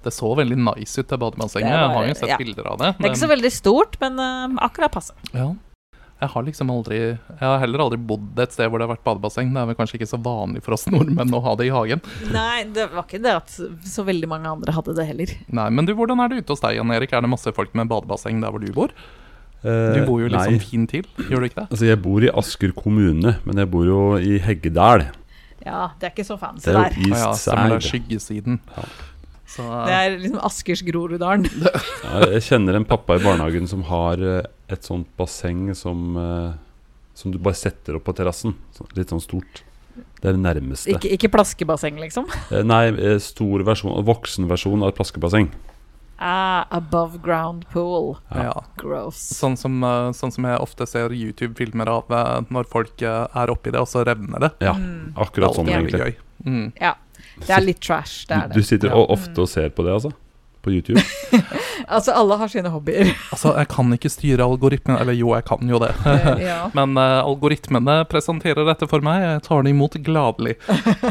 [SPEAKER 2] Det så veldig nice ut, det badebassenget.
[SPEAKER 1] Det var-
[SPEAKER 2] Jeg har jo sett
[SPEAKER 1] ja.
[SPEAKER 2] bilder av det.
[SPEAKER 1] Det er ikke så veldig stort, men eh, akkurat passe.
[SPEAKER 2] Ja. Jeg har liksom aldri Jeg har heller aldri bodd et sted hvor det har vært badebasseng. Det er vel kanskje ikke så vanlig for oss nordmenn å ha det i hagen.
[SPEAKER 1] Nei, det var ikke det at så veldig mange andre hadde det heller.
[SPEAKER 2] Nei, men du, hvordan er det ute hos deg, Jan Erik? Er det masse folk med badebasseng der hvor du bor? Du
[SPEAKER 3] Eh,
[SPEAKER 2] bor jo liksom
[SPEAKER 3] nei.
[SPEAKER 2] fint til, gjør du ikke det?
[SPEAKER 3] Altså, jeg bor i Asker kommune, men jeg bor jo i Heggedal.
[SPEAKER 1] Ja, det er ikke så fancy
[SPEAKER 3] Det er
[SPEAKER 1] der.
[SPEAKER 3] jo
[SPEAKER 2] Å ja,
[SPEAKER 3] East
[SPEAKER 2] stemmer
[SPEAKER 3] Side.
[SPEAKER 2] det. er Skyggesiden.
[SPEAKER 3] Ja.
[SPEAKER 2] Så
[SPEAKER 1] Det er liksom Askers Groruddalen.
[SPEAKER 3] Ja, jeg kjenner en pappa i barnehagen som har eh, et sånt basseng som, eh, som du bare setter opp på terrassen. Så- Litt sånn stort. Det er det nærmeste.
[SPEAKER 1] Ikke, ikke plaskebasseng, liksom.
[SPEAKER 3] Eh, Nei, eh, stor versjon, voksen versjon av et plaskebasseng.
[SPEAKER 1] Ah, above ground pool.
[SPEAKER 3] Ja.
[SPEAKER 2] eh, ja.
[SPEAKER 1] Gross.
[SPEAKER 2] Sånn som, eh, sånn som jeg ofte ser YouTube-filmer av eh, når folk eh, er oppi det, og så revner det.
[SPEAKER 3] Ja,
[SPEAKER 1] Mm.
[SPEAKER 3] akkurat
[SPEAKER 2] Det
[SPEAKER 3] sånn,
[SPEAKER 2] er alltid
[SPEAKER 3] egentlig.
[SPEAKER 2] veldig gøy. Mm.
[SPEAKER 1] Det er litt trash, det er
[SPEAKER 3] Du, du
[SPEAKER 1] det.
[SPEAKER 3] sitter
[SPEAKER 2] Ja.
[SPEAKER 3] o- ofte og ser på det, altså? På YouTube?
[SPEAKER 1] Altså, alle har sine hobbyer.
[SPEAKER 2] Altså, jeg kan ikke styre algoritmen. Eller jo, jeg kan jo det.
[SPEAKER 1] ja.
[SPEAKER 2] Men eh, algoritmene presenterer dette for meg. Jeg tar det imot gladelig.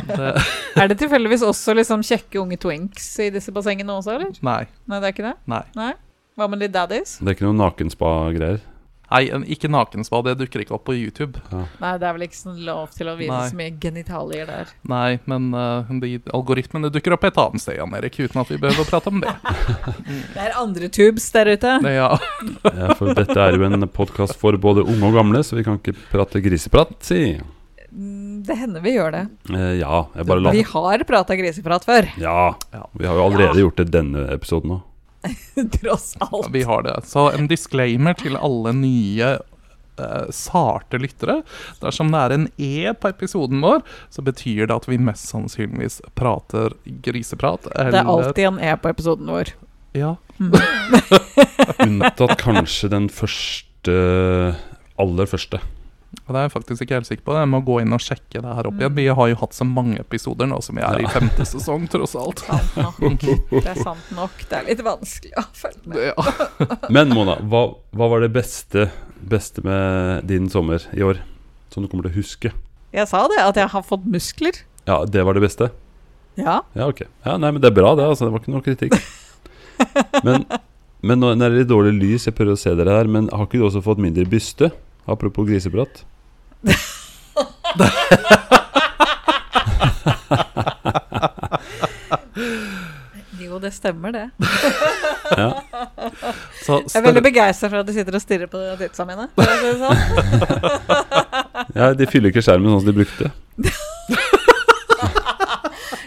[SPEAKER 2] Det,
[SPEAKER 1] Er det tilfeldigvis også liksom kjekke unge twinks i disse bassengene også, eller?
[SPEAKER 2] nei,
[SPEAKER 1] Nei, det er ikke det?
[SPEAKER 2] nei.
[SPEAKER 1] Hva med litt daddies?
[SPEAKER 3] Det er ikke noen nakenspa-greier?
[SPEAKER 2] Nei, en- ikke nakenspa. Det dukker ikke opp på YouTube.
[SPEAKER 1] Nei, det er vel ikke sånn lov til å vise
[SPEAKER 2] Nei.
[SPEAKER 1] så mye genitalier der.
[SPEAKER 2] Nei, men eh, de algoritmene dukker opp et annet sted, Jan Erik, uten at vi behøver å prate om det.
[SPEAKER 1] Det er andre tubes der ute.
[SPEAKER 2] det ja.
[SPEAKER 3] Ja, for dette er jo en podkast for både unge og gamle, så vi kan ikke prate griseprat, si.
[SPEAKER 1] Mm, Det hender vi gjør det.
[SPEAKER 3] Eh, ja, jeg bare la
[SPEAKER 1] Vi har prata griseprat før,
[SPEAKER 3] Ja,
[SPEAKER 2] Ja.
[SPEAKER 3] vi har jo allerede gjort det denne episoden òg.
[SPEAKER 1] tross alt.
[SPEAKER 2] Vi har det. Så en disclaimer til alle nye eh, sarte lyttere. Dersom det er en E på episoden vår, så betyr det at vi mest sannsynligvis prater griseprat.
[SPEAKER 1] Det er alltid en E på episoden vår.
[SPEAKER 2] Ja.
[SPEAKER 3] Unntatt kanskje den første aller første.
[SPEAKER 2] Og det er jeg faktisk ikke helt sikker på. Jeg må gå inn og sjekke det her opp
[SPEAKER 1] Mm.
[SPEAKER 2] igjen. Vi har jo hatt så mange episoder nå som vi er i femte sesong, tross alt.
[SPEAKER 1] Sant nok. Det er sant nok. Det er litt vanskelig å følge med.
[SPEAKER 2] Ja.
[SPEAKER 3] Men Mona, hva, hva var det beste, beste med din sommer i år? Som du kommer til å huske?
[SPEAKER 1] Jeg sa det, at jeg har fått muskler.
[SPEAKER 3] Ja, det var det beste?
[SPEAKER 1] Ja.
[SPEAKER 3] Ja, ok. Ja, nei, men det er bra, det. altså Det var ikke noe kritikk. Men, men nå nå er det litt dårlig lys, jeg prøver å se dere her. Men har ikke du også fått mindre byste? Apropos griseprat.
[SPEAKER 1] Jo, det stemmer, det.
[SPEAKER 3] Ja.
[SPEAKER 2] Så
[SPEAKER 1] Jeg er
[SPEAKER 2] større-
[SPEAKER 1] veldig begeistra for at du sitter og stirrer på titsa mine. for å si det sånn.
[SPEAKER 3] ja, de fyller ikke skjermen sånn som de brukte.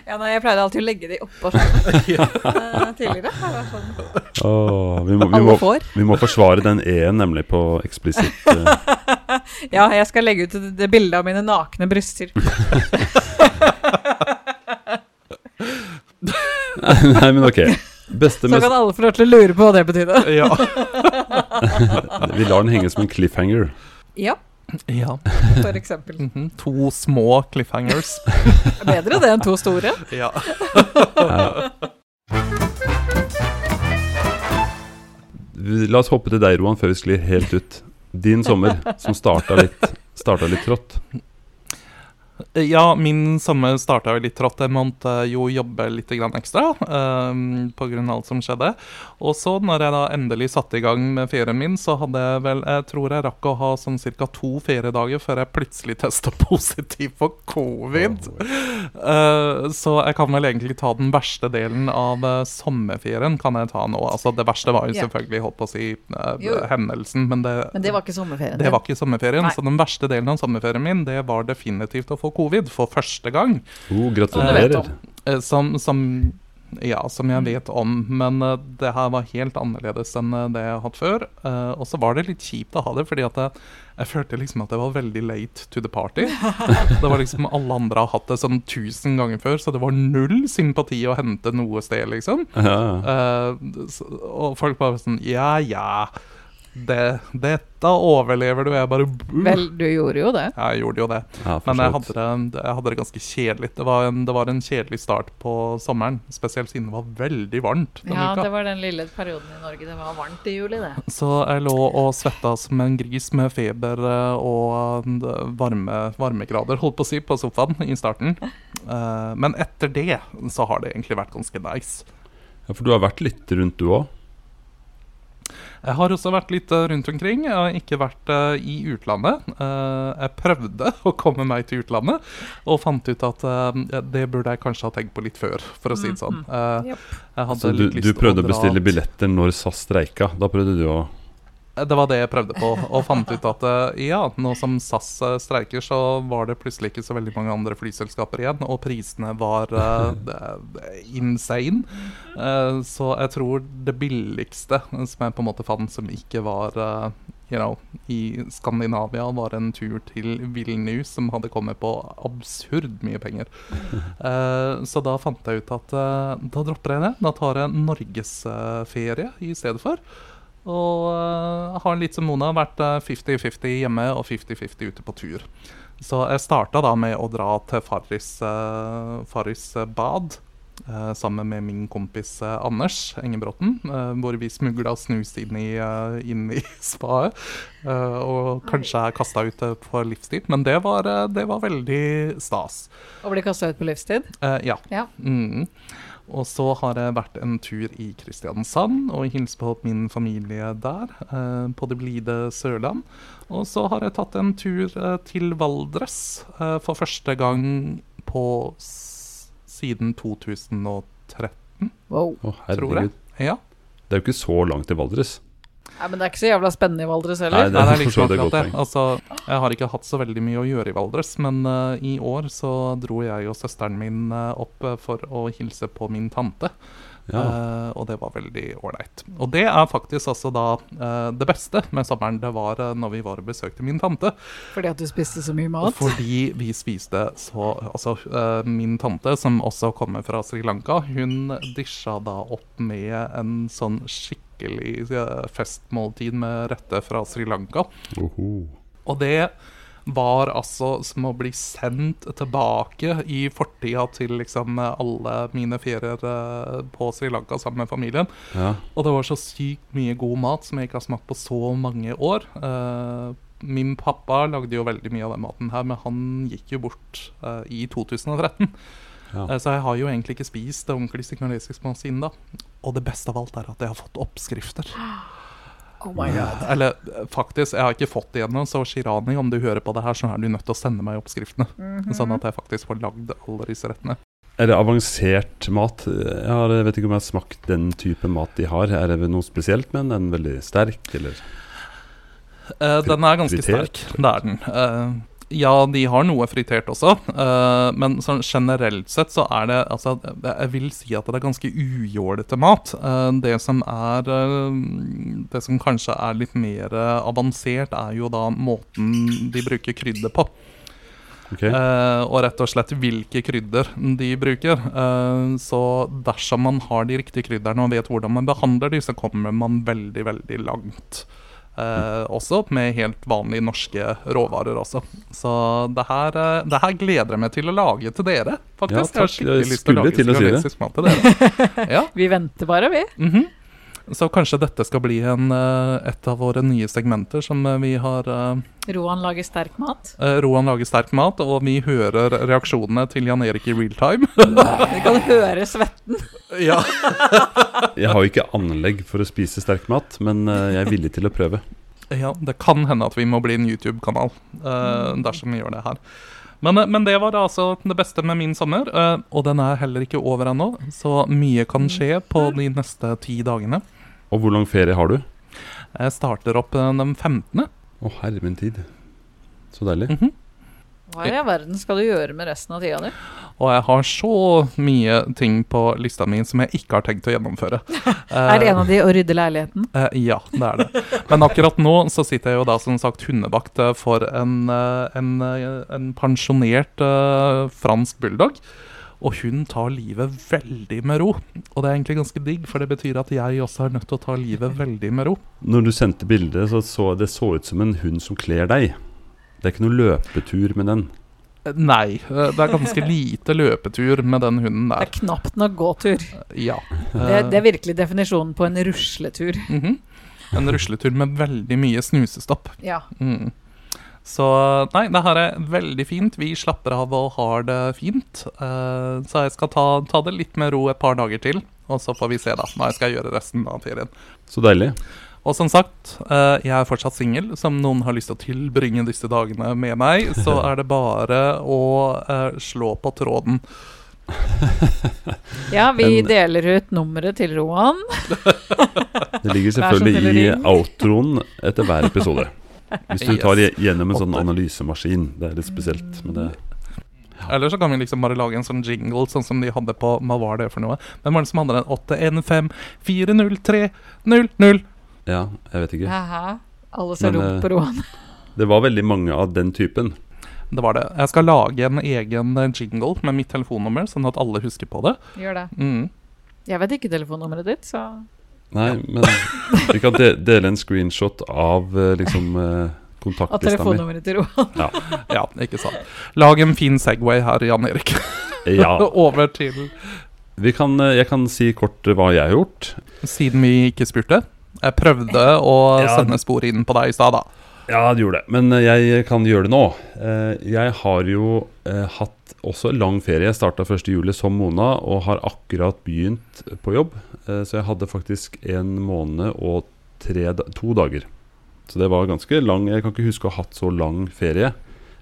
[SPEAKER 1] Ja, nei, jeg pleide alltid å legge de oppå skjermen eh, tidligere. Det var sånn
[SPEAKER 3] Åh, vi, må, vi,
[SPEAKER 1] Alle
[SPEAKER 3] må,
[SPEAKER 1] får.
[SPEAKER 3] vi må forsvare den E-en, nemlig, på eksplisitt. eh,
[SPEAKER 1] Ja, jeg skal legge ut det- det bildet av mine nakne bryster.
[SPEAKER 3] Nei, men ok. Beste
[SPEAKER 1] Så
[SPEAKER 3] mest
[SPEAKER 1] kan alle få lov til å lure på hva det betydde.
[SPEAKER 2] Ja.
[SPEAKER 3] Vi lar den henge som en cliffhanger.
[SPEAKER 1] Ja,
[SPEAKER 2] ja.
[SPEAKER 1] for eksempel.
[SPEAKER 2] Mhm. To små cliffhangers.
[SPEAKER 1] Bedre det enn to store.
[SPEAKER 2] Ja.
[SPEAKER 3] Ja. Vi- La oss hoppe til deg, Roan, før vi sklir helt ut. Din sommer, som starta litt, starta litt trått.
[SPEAKER 2] Ja, min sommer starta jo litt trått. Jeg måtte eh, jo jobbe litt grann ekstra eh, på grunn av alt som skjedde. Og så, når jeg da endelig satte i gang med ferien min, så hadde jeg vel Jeg tror jeg rakk å ha sånn ca. to feriedager før jeg plutselig testa positiv for covid.
[SPEAKER 3] Oh,
[SPEAKER 2] Eh, så jeg kan vel egentlig ta den verste delen av eh, sommerferien kan jeg ta nå. Altså, det verste var jo
[SPEAKER 1] Ja.
[SPEAKER 2] selvfølgelig, holdt på å si, eh,
[SPEAKER 1] Jo.
[SPEAKER 2] hendelsen, men det,
[SPEAKER 1] Men det var ikke sommerferien.
[SPEAKER 2] det var ikke sommerferien,
[SPEAKER 1] Nei.
[SPEAKER 2] så den verste delen av sommerferien min det var definitivt å få covid for første gang.
[SPEAKER 3] Oh,
[SPEAKER 1] Som du vet
[SPEAKER 3] gratulerer.
[SPEAKER 1] om.
[SPEAKER 2] Eh, Som, som, ja, som jeg vet om, men eh, det her var helt annerledes enn eh, det jeg har hatt før. Eh, og så var det litt kjipt å ha det, fordi at jeg, jeg følte liksom at jeg var veldig late to the party. Det var liksom Alle andre har hatt det sånn tusen ganger før, så det var null sympati å hente noe sted, liksom.
[SPEAKER 3] Ja.
[SPEAKER 2] Eh, s- og folk bare sånn Ja, ja. Det, dette overlever du. Jeg bare
[SPEAKER 1] Vel, du gjorde jo det.
[SPEAKER 2] Jeg gjorde jo det.
[SPEAKER 3] Ja, for
[SPEAKER 2] Men jeg
[SPEAKER 3] så
[SPEAKER 2] hadde
[SPEAKER 3] vidt.
[SPEAKER 2] det, jeg hadde det ganske kjedelig. Det var, en, det var en kjedelig start på sommeren. Spesielt siden det var veldig varmt denne
[SPEAKER 1] Ja, det
[SPEAKER 2] uka.
[SPEAKER 1] var den lille perioden i Norge det var varmt i juli, det.
[SPEAKER 2] Så jeg lå og svetta som en gris med feber eh, og eh, varme, varmegrader, holdt på å si, på sofaen i starten. Eh, Men etter det så har det egentlig vært ganske nice.
[SPEAKER 3] Ja, for du har vært litt rundt, du òg.
[SPEAKER 2] Jeg har også vært litt eh, rundt omkring. Jeg har ikke vært eh, i utlandet. Eh, Jeg prøvde å komme meg til utlandet, og fant ut at eh, det burde jeg kanskje ha tenkt på litt før, for å si det sånn. Eh,
[SPEAKER 1] Japp.
[SPEAKER 2] Jeg hadde
[SPEAKER 3] Så du,
[SPEAKER 2] litt lyst
[SPEAKER 3] du
[SPEAKER 2] til
[SPEAKER 3] prøvde å
[SPEAKER 2] dra
[SPEAKER 3] bestille
[SPEAKER 2] til-
[SPEAKER 3] billetter når SAS streika. Da prøvde du å
[SPEAKER 2] Det var det jeg prøvde på, og fant ut at eh, ja, nå som SAS eh, streiker, så var det plutselig ikke så veldig mange andre flyselskaper igjen, og prisene var eh, d- insane. Eh, Så jeg tror det billigste eh, som jeg på en måte fant som ikke var eh, you know, i Skandinavia, var en tur til Vilnius som hadde kommet på absurd mye penger. Eh, Så da fant jeg ut at eh, da dropper jeg det. Da tar jeg norgesferie i stedet for. Og eh, har litt som Mona vært eh, 50-50 hjemme og 50-50 ute på tur. Så jeg starta da med å dra til Farris, eh, Farris eh, bad. eh, sammen med min kompis eh, Anders Engebråten, eh, hvor vi smugla snus inn i, eh, inn i spaet. eh, og kanskje er kasta ut eh, for livstid, men det var, eh, det var veldig stas.
[SPEAKER 1] Og ble kasta ut på livstid.
[SPEAKER 2] Eh, ja.
[SPEAKER 1] Ja.
[SPEAKER 2] Mm. Og så har jeg vært en tur i Kristiansand og hilst på min familie der, eh, på det blide Sørland. Og så har jeg tatt en tur eh, til Valdres eh, for første gang på s siden 2013,
[SPEAKER 1] Wow.
[SPEAKER 3] Å,
[SPEAKER 2] tror jeg.
[SPEAKER 3] herregud.
[SPEAKER 2] Ja.
[SPEAKER 3] Det er jo ikke så langt til Valdres.
[SPEAKER 1] Nei, men det er ikke så jævla spennende i Valdres
[SPEAKER 3] Nei,
[SPEAKER 1] heller.
[SPEAKER 3] det-
[SPEAKER 2] Nei, det er
[SPEAKER 3] for
[SPEAKER 2] liksom
[SPEAKER 3] så vidt et
[SPEAKER 2] akkurat det.
[SPEAKER 3] godt poeng.
[SPEAKER 2] Altså, jeg har ikke hatt så veldig mye å gjøre i Valdres, men eh, i år så dro jeg og søsteren min eh, opp eh, for å hilse på min tante.
[SPEAKER 3] Ja.
[SPEAKER 2] Eh, og det var veldig ålreit. Og det er faktisk altså da eh, det beste med sommeren. Det var eh, når vi var og besøkte min tante.
[SPEAKER 1] Fordi at du spiste så mye mat.
[SPEAKER 2] Fordi vi spiste så Altså, eh, min tante, som også kommer fra Sri Lanka, hun disja da opp med en sånn skikkelig eh, festmåltid med retter fra Sri Lanka.
[SPEAKER 3] Oho.
[SPEAKER 2] Og det var altså som å bli sendt tilbake i fortida til liksom alle mine ferier eh, på Sri Lanka sammen med familien.
[SPEAKER 3] Ja.
[SPEAKER 2] Og det var så sykt mye god mat som jeg ikke har smakt på så mange år. Eh, min pappa lagde jo veldig mye av den maten her, men han gikk jo bort eh, i 2013.
[SPEAKER 3] Ja.
[SPEAKER 2] Eh, så jeg har jo egentlig ikke spist ordentlig signalistisk mat siden da. Og det beste av alt er at jeg har fått oppskrifter.
[SPEAKER 1] Oh my god.
[SPEAKER 2] Eller eh, faktisk, jeg har ikke fått det ennå, så Shirani, om du hører på det her, så er du nødt til å sende meg oppskriftene.
[SPEAKER 1] Mhm. Mm.
[SPEAKER 2] Sånn at jeg faktisk får lagd alle disse rettene.
[SPEAKER 3] Er det avansert mat? Jeg har, jeg vet ikke om jeg har smakt den type mat de har. Er det noe spesielt med den? Er den veldig sterk, eller?
[SPEAKER 2] Eh, den er ganske
[SPEAKER 3] Fritert?
[SPEAKER 2] sterk, det er den. Eh, ja, de har noe fritert også, eh, men sånn generelt sett så er det altså, Jeg vil si at det er ganske ujålete mat. Eh, det som er eh, Det som kanskje er litt mer eh, avansert, er jo da måten de bruker krydder på.
[SPEAKER 3] Ok.
[SPEAKER 2] Eh, og rett og slett hvilke krydder de bruker. Eh, så dersom man har de riktige krydderne og vet hvordan man behandler de, så kommer man veldig, veldig langt. Eh,
[SPEAKER 3] Mm.
[SPEAKER 2] også med helt vanlige norske råvarer også. Så det her, eh, det her gleder jeg meg til å lage til dere,
[SPEAKER 3] Ja,
[SPEAKER 2] faktisk.
[SPEAKER 3] takk.
[SPEAKER 2] Jeg har
[SPEAKER 3] Jeg
[SPEAKER 2] skikkelig lyst til å
[SPEAKER 3] skulle
[SPEAKER 2] lage
[SPEAKER 3] til å si det.
[SPEAKER 2] sirolesisk mat til dere. Ja.
[SPEAKER 1] Vi venter bare, vi.
[SPEAKER 2] Mhm. Så kanskje dette skal bli en, eh, et av våre nye segmenter som eh, vi har eh,
[SPEAKER 1] Roan lager sterk mat.
[SPEAKER 2] Eh, Roan lager sterk mat, og vi hører reaksjonene til Jan Erik i real time.
[SPEAKER 1] Vi kan høre svetten.
[SPEAKER 2] ja.
[SPEAKER 3] Jeg har jo ikke anlegg for å spise sterk mat, men eh, jeg er villig til å prøve.
[SPEAKER 2] Det kan hende at vi må bli en YouTube-kanal eh,
[SPEAKER 1] Mm.
[SPEAKER 2] dersom vi gjør det her. Men, eh, men det var altså det beste med min sommer, eh, og den er heller ikke over ennå. Så mye kan skje på de neste ti dagene.
[SPEAKER 3] Og hvor lang ferie har du? Å,
[SPEAKER 2] Jeg starter opp eh, den 15.
[SPEAKER 3] herre min tid. Så deilig.
[SPEAKER 2] Mhm.
[SPEAKER 1] Hva i all verden skal du gjøre med resten av tida di?
[SPEAKER 2] Og jeg har så mye ting på lista mi som jeg ikke har tenkt å gjennomføre.
[SPEAKER 1] Er det en av de å rydde leiligheten?
[SPEAKER 2] Eh, ja, det er det. Men akkurat nå så sitter jeg jo da som sagt hundevakt eh, for en, eh, en, eh, en pensjonert eh, fransk bulldog. Og hun tar livet veldig med ro. Og det er egentlig ganske digg, for det betyr at jeg også er nødt til å ta livet veldig med ro.
[SPEAKER 3] Når du sendte bildet, så, så det så ut som en hund som kler deg. Det er ikke noe løpetur med den.
[SPEAKER 2] Eh, Nei, eh, det er ganske lite løpetur med den hunden
[SPEAKER 1] Det er
[SPEAKER 2] der.
[SPEAKER 1] knapt nok gåtur.
[SPEAKER 2] Ja.
[SPEAKER 1] Det,
[SPEAKER 2] Eh,
[SPEAKER 1] det er virkelig definisjonen på en rusletur.
[SPEAKER 2] mhm. En rusletur med veldig mye snusestopp.
[SPEAKER 1] Ja.
[SPEAKER 2] Mm. Så nei, det her er veldig fint. Vi slapper av og har det fint. Eh, så jeg skal ta, ta det litt med ro et par dager til, og så får vi se da hva jeg skal gjøre resten av ferien.
[SPEAKER 3] Så deilig.
[SPEAKER 2] Og som sagt, eh, jeg er fortsatt singel. Som noen har lyst til å tilbringe disse dagene med meg, så er det bare å eh, slå på tråden.
[SPEAKER 1] ja, vi
[SPEAKER 3] En-
[SPEAKER 1] deler ut nummeret til Roan.
[SPEAKER 3] Det ligger
[SPEAKER 1] Vær så snill å
[SPEAKER 3] selvfølgelig i
[SPEAKER 1] ring.
[SPEAKER 3] outroen etter hver episode. Hvis du tar
[SPEAKER 2] Yes.
[SPEAKER 3] gje- gjennom en sånn
[SPEAKER 2] Åtte.
[SPEAKER 3] analysemaskin. Det er litt spesielt. Men det
[SPEAKER 2] Eller så kan vi liksom bare lage en sånn jingle, sånn som de hadde på Hva var det for noe? Hvem var det som hadde den? 815 403 00
[SPEAKER 3] Ja, jeg vet ikke.
[SPEAKER 1] Haha. Alle ser
[SPEAKER 3] Men,
[SPEAKER 1] dumt
[SPEAKER 3] eh,
[SPEAKER 1] på Roan.
[SPEAKER 3] Det var veldig mange av den typen.
[SPEAKER 2] Det var det. Jeg skal lage en egen jingle med mitt telefonnummer, sånn at alle husker på det.
[SPEAKER 1] Gjør det.
[SPEAKER 2] Mm.
[SPEAKER 1] Jeg vet ikke telefonnummeret ditt, så
[SPEAKER 3] Nei, men vi kan de dele en screenshot av eh, liksom eh,
[SPEAKER 1] Av
[SPEAKER 3] kontaktlista mi.
[SPEAKER 1] telefonnummeret til Roan.
[SPEAKER 2] Ja, ikke sant. Lag en fin Segway her, Jan Erik.
[SPEAKER 3] Ja.
[SPEAKER 2] Over til
[SPEAKER 3] Vi kan, eh, jeg kan si kort eh, hva jeg har gjort.
[SPEAKER 2] Siden vi ikke spurte. Jeg prøvde å
[SPEAKER 3] Ja,
[SPEAKER 2] sende spor inn på deg i stad, da.
[SPEAKER 3] Ja, du gjorde det. Men eh, jeg kan gjøre det nå. Eh, Jeg har jo eh, hatt også lang ferie. Jeg starta 1.7 som Mona og har akkurat begynt på jobb. Eh, Så jeg hadde faktisk en måned og tre, da- to dager. Så det var ganske lang. Jeg kan ikke huske å ha hatt så lang ferie.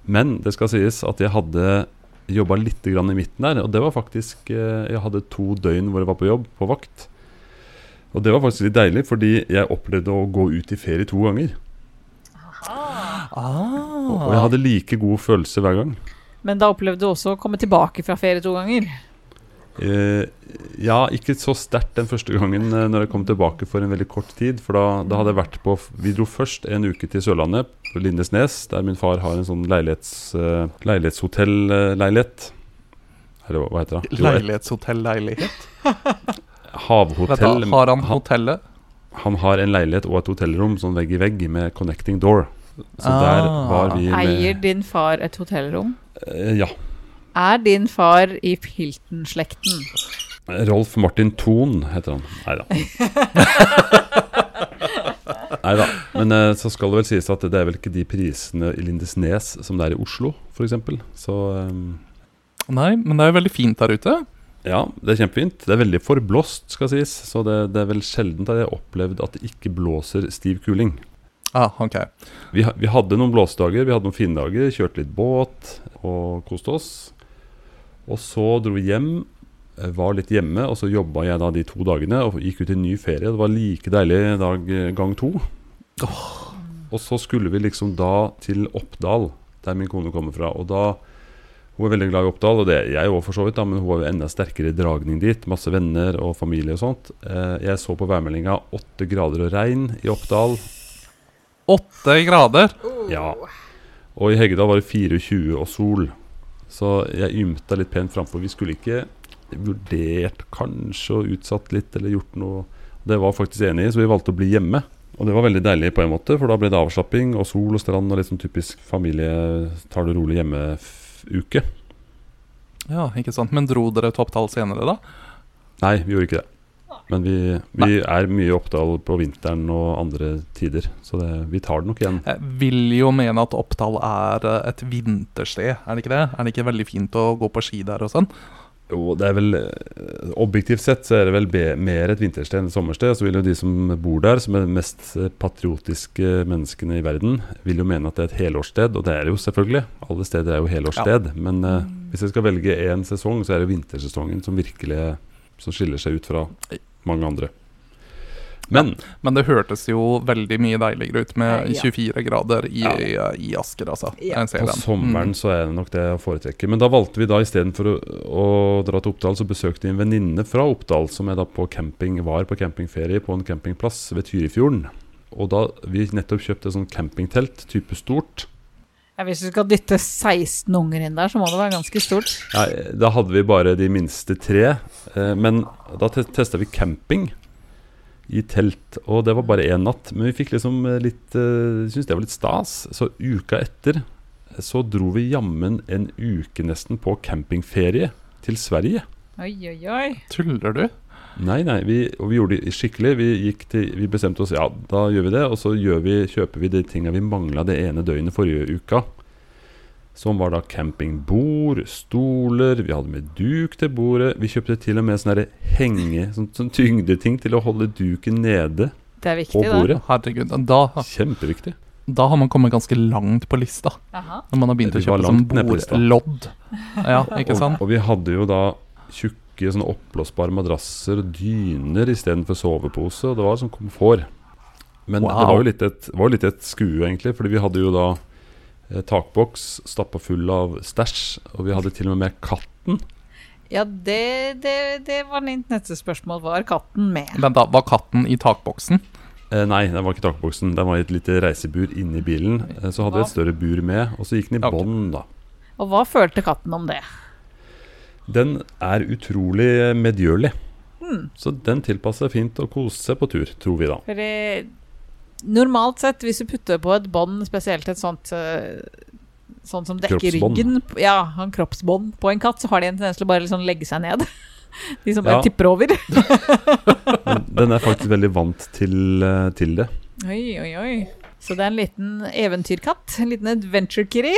[SPEAKER 3] Men det skal sies at jeg hadde jobba litt grann i midten der. Og det var faktisk eh, Jeg hadde to døgn hvor jeg var på jobb, på vakt. Og det var faktisk litt deilig, fordi jeg opplevde å gå ut i ferie to ganger. Og jeg
[SPEAKER 2] Ah.
[SPEAKER 3] hadde like god følelse hver gang.
[SPEAKER 1] Men da opplevde du også å komme tilbake fra ferie to ganger.
[SPEAKER 3] Eh, ja, ikke så sterkt den første gangen eh, når jeg kom tilbake for en veldig kort tid. For da, da hadde jeg vært på Vi dro først en uke til Sørlandet, på Lindesnes, der min far har en sånn leilighets, eh, leilighetshotell-leilighet. Eller hva- hva heter det? Jo, et
[SPEAKER 2] Leilighetshotell, leilighet. Vet
[SPEAKER 3] Havhotell.
[SPEAKER 2] du, har han
[SPEAKER 3] han,
[SPEAKER 2] hotellet?
[SPEAKER 3] han har en leilighet og et hotellrom sånn vegg i vegg med connecting door. Så der
[SPEAKER 2] Ah.
[SPEAKER 3] var vi
[SPEAKER 1] Eier
[SPEAKER 3] med
[SPEAKER 1] din far et hotellrom?
[SPEAKER 3] Eh, Ja.
[SPEAKER 1] Er din far i Pilton-slekten?
[SPEAKER 3] Rolf Martin Thon heter han. Nei da. Nei da. Men eh, så skal det vel sies at det er vel ikke de prisene i Lindesnes som det er i Oslo, f.eks. Så eh,
[SPEAKER 2] Nei, men det er jo veldig fint der ute.
[SPEAKER 3] Ja, det er kjempefint. Det er veldig forblåst, skal sies. Så det, det er vel sjelden at jeg har opplevd at det ikke blåser stiv kuling.
[SPEAKER 2] Ah, ok.
[SPEAKER 3] Vi, ha- vi hadde noen blåsedager, vi hadde noen fine dager, kjørte litt båt og koste oss. Og så dro vi hjem, eh, var litt hjemme, og så jobba jeg da de to dagene og gikk ut i en ny ferie. Det var like deilig dag eh, gang to. Og så skulle vi liksom da til Oppdal, der min kone kommer fra. Og da Hun er veldig glad i Oppdal, og det er jeg òg for så vidt, da, men hun har jo enda sterkere dragning dit. Masse venner og familie og sånt. Eh, Jeg så på værmeldinga åtte grader og regn i Oppdal.
[SPEAKER 2] Åtte grader.
[SPEAKER 3] Ja. Og i Heggedal var det 24 og sol. Så jeg ymta litt pent framfor. Vi skulle ikke vurdert kanskje og utsatt litt eller gjort noe. Det var jeg faktisk enig i, så vi valgte å bli hjemme. Og det var veldig deilig på en måte, for da ble det avslapping og sol og strand og litt sånn typisk familie tar det rolig hjemme-uke.
[SPEAKER 2] Ja, ikke sant. Men dro dere til Oppdal senere, da?
[SPEAKER 3] Nei, vi gjorde ikke det. Men vi, vi er mye i Oppdal på vinteren og andre tider, så det, vi tar det nok igjen.
[SPEAKER 2] Jeg vil jo mene at Oppdal er eh, et vintersted, er det ikke det? Er det ikke veldig fint å gå på ski der og sånn?
[SPEAKER 3] Jo, det er vel eh, Objektivt sett så er det vel be, mer et vintersted enn et sommersted. Så vil jo de som bor der, som er de mest eh, patriotiske menneskene i verden, vil jo mene at det er et helårssted. Og det er det jo selvfølgelig. Alle steder er jo helårssted. Men
[SPEAKER 1] Mm.
[SPEAKER 3] eh, hvis jeg skal velge én sesong, så er det vintersesongen som virkelig som skiller seg ut fra mange andre. Men
[SPEAKER 2] Men det hørtes jo veldig mye deiligere ut med
[SPEAKER 1] Ja.
[SPEAKER 2] 24 grader i,
[SPEAKER 3] Ja.
[SPEAKER 2] i, i Asker, altså.
[SPEAKER 1] Ja.
[SPEAKER 2] Jeg ser
[SPEAKER 3] på
[SPEAKER 2] den.
[SPEAKER 3] sommeren
[SPEAKER 2] Mm.
[SPEAKER 3] så er det nok det å foretrekke. Men da valgte vi da istedenfor å, å dra til Oppdal, så besøkte vi en venninne fra Oppdal som jeg da på camping var på campingferie på en campingplass ved Tyrifjorden. Og da vi nettopp kjøpte sånn campingtelt, type stort.
[SPEAKER 1] Ja, hvis du skal dytte 16 unger inn der, så må det være ganske stort.
[SPEAKER 3] Nei, da hadde vi bare de minste tre. eh, Men da te testa vi camping i telt, og det var bare én natt. Men vi fikk liksom eh, litt eh, Syns det var litt stas. Så uka etter eh, så dro vi jammen en uke nesten på campingferie til Sverige.
[SPEAKER 1] Oi, oi, oi.
[SPEAKER 2] Tuller du?
[SPEAKER 3] Nei, nei, vi, og vi gjorde det skikkelig. Vi, gikk til, vi bestemte oss ja, da gjør vi det. Og så gjør vi, kjøper vi de tinga vi mangla det ene døgnet forrige uka. Som var da campingbord, stoler, vi hadde med duk til bordet. Vi kjøpte til og med sånne der henge, sånn, sånn tyngdeting til å holde duken nede
[SPEAKER 1] Det
[SPEAKER 3] på
[SPEAKER 1] er viktig, da.
[SPEAKER 3] bordet.
[SPEAKER 2] Herregud. Da,
[SPEAKER 3] Kjempeviktig.
[SPEAKER 2] da har man kommet ganske langt på lista.
[SPEAKER 1] Jaha.
[SPEAKER 2] Når man har begynt
[SPEAKER 3] Vi
[SPEAKER 2] å
[SPEAKER 3] var
[SPEAKER 2] kjøpe sånn
[SPEAKER 3] langt ned på lista.
[SPEAKER 2] bordlodd. Ja, ikke sant?
[SPEAKER 3] Og, og vi hadde jo da tjukke sånne oppblåsbare madrasser og dyner istedenfor sovepose, og det var sånn komfort. Men det
[SPEAKER 2] Wow.
[SPEAKER 3] var jo litt et, var jo litt et skue, egentlig, fordi vi hadde jo da eh, takboks stappa full av stæsj, og vi hadde til og med med katten.
[SPEAKER 1] Ja, det, det, det var mitt neste spørsmål. Var katten med?
[SPEAKER 2] Vent, da. Var katten i takboksen?
[SPEAKER 3] Eh, nei, den var ikke i takboksen, den var i et lite reisebur inni bilen. Eh, så hadde vi et større bur med, og så gikk den i
[SPEAKER 2] Ok.
[SPEAKER 3] bånd, da.
[SPEAKER 1] Og hva følte katten om det?
[SPEAKER 3] Den er utrolig eh, medgjørlig.
[SPEAKER 2] Hmm.
[SPEAKER 3] Så den tilpasser fint å kose seg på tur, tror vi da.
[SPEAKER 1] For eh, normalt sett, hvis du putter på et bånd, spesielt et sånt eh, Sånn som dekker
[SPEAKER 3] Kroppsbånd.
[SPEAKER 1] ryggen Ja, en kroppsbånd på en katt, så har de en tendens til å bare liksom legge seg ned. De som bare
[SPEAKER 3] Ja.
[SPEAKER 1] tipper over.
[SPEAKER 3] Men den er faktisk veldig vant til, eh, til det.
[SPEAKER 1] Oi, oi, oi. Så det er en liten eventyrkatt. En liten adventure kitty.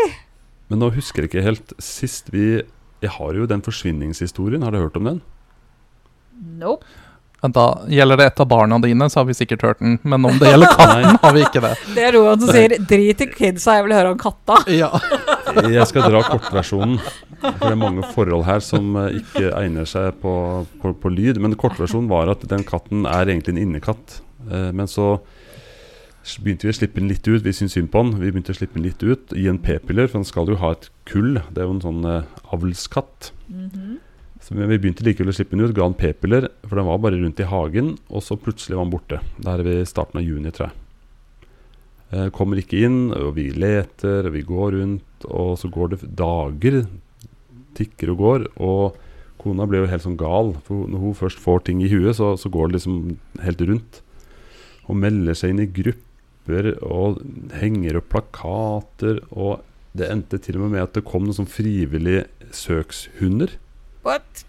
[SPEAKER 3] Men nå husker jeg ikke helt Sist vi Jeg har jo den forsvinningshistorien, har du hørt om den?
[SPEAKER 1] Nope.
[SPEAKER 2] Vent, da. Gjelder det et av barna dine, så har vi sikkert hørt den. Men om det gjelder katten, har vi ikke det.
[SPEAKER 1] Det er Roan som sier 'drit i kidsa, jeg vil høre om katta'.
[SPEAKER 2] Ja.
[SPEAKER 3] Jeg skal dra kortversjonen. For det er mange forhold her som eh, ikke egner seg på, på, på lyd. Men kortversjonen var at den katten er egentlig en innekatt. Eh, Men så s- begynte vi å slippe den litt ut. Vi syntes synd på den. Vi begynte å slippe den litt ut i en p-piller, for den skal jo ha et kull. Det er jo en sånn eh, avlskatt.
[SPEAKER 1] Mm-hmm.
[SPEAKER 3] Så men vi begynte likevel å slippe den ut, ga den p-piller, for den var bare rundt i hagen, og så plutselig var den borte. Det her er ved starten av juni, tror jeg. Eh, Kommer ikke inn, og vi leter, og vi går rundt, og så går det f- dager, tikker og går, og kona blir jo helt sånn gal, for hun- når hun først får ting i huet, så, så går det liksom helt rundt. Og melder seg inn i grupper, og henger opp plakater, og det endte til og med med at det kom noen sånn frivillige søkshunder.
[SPEAKER 1] What?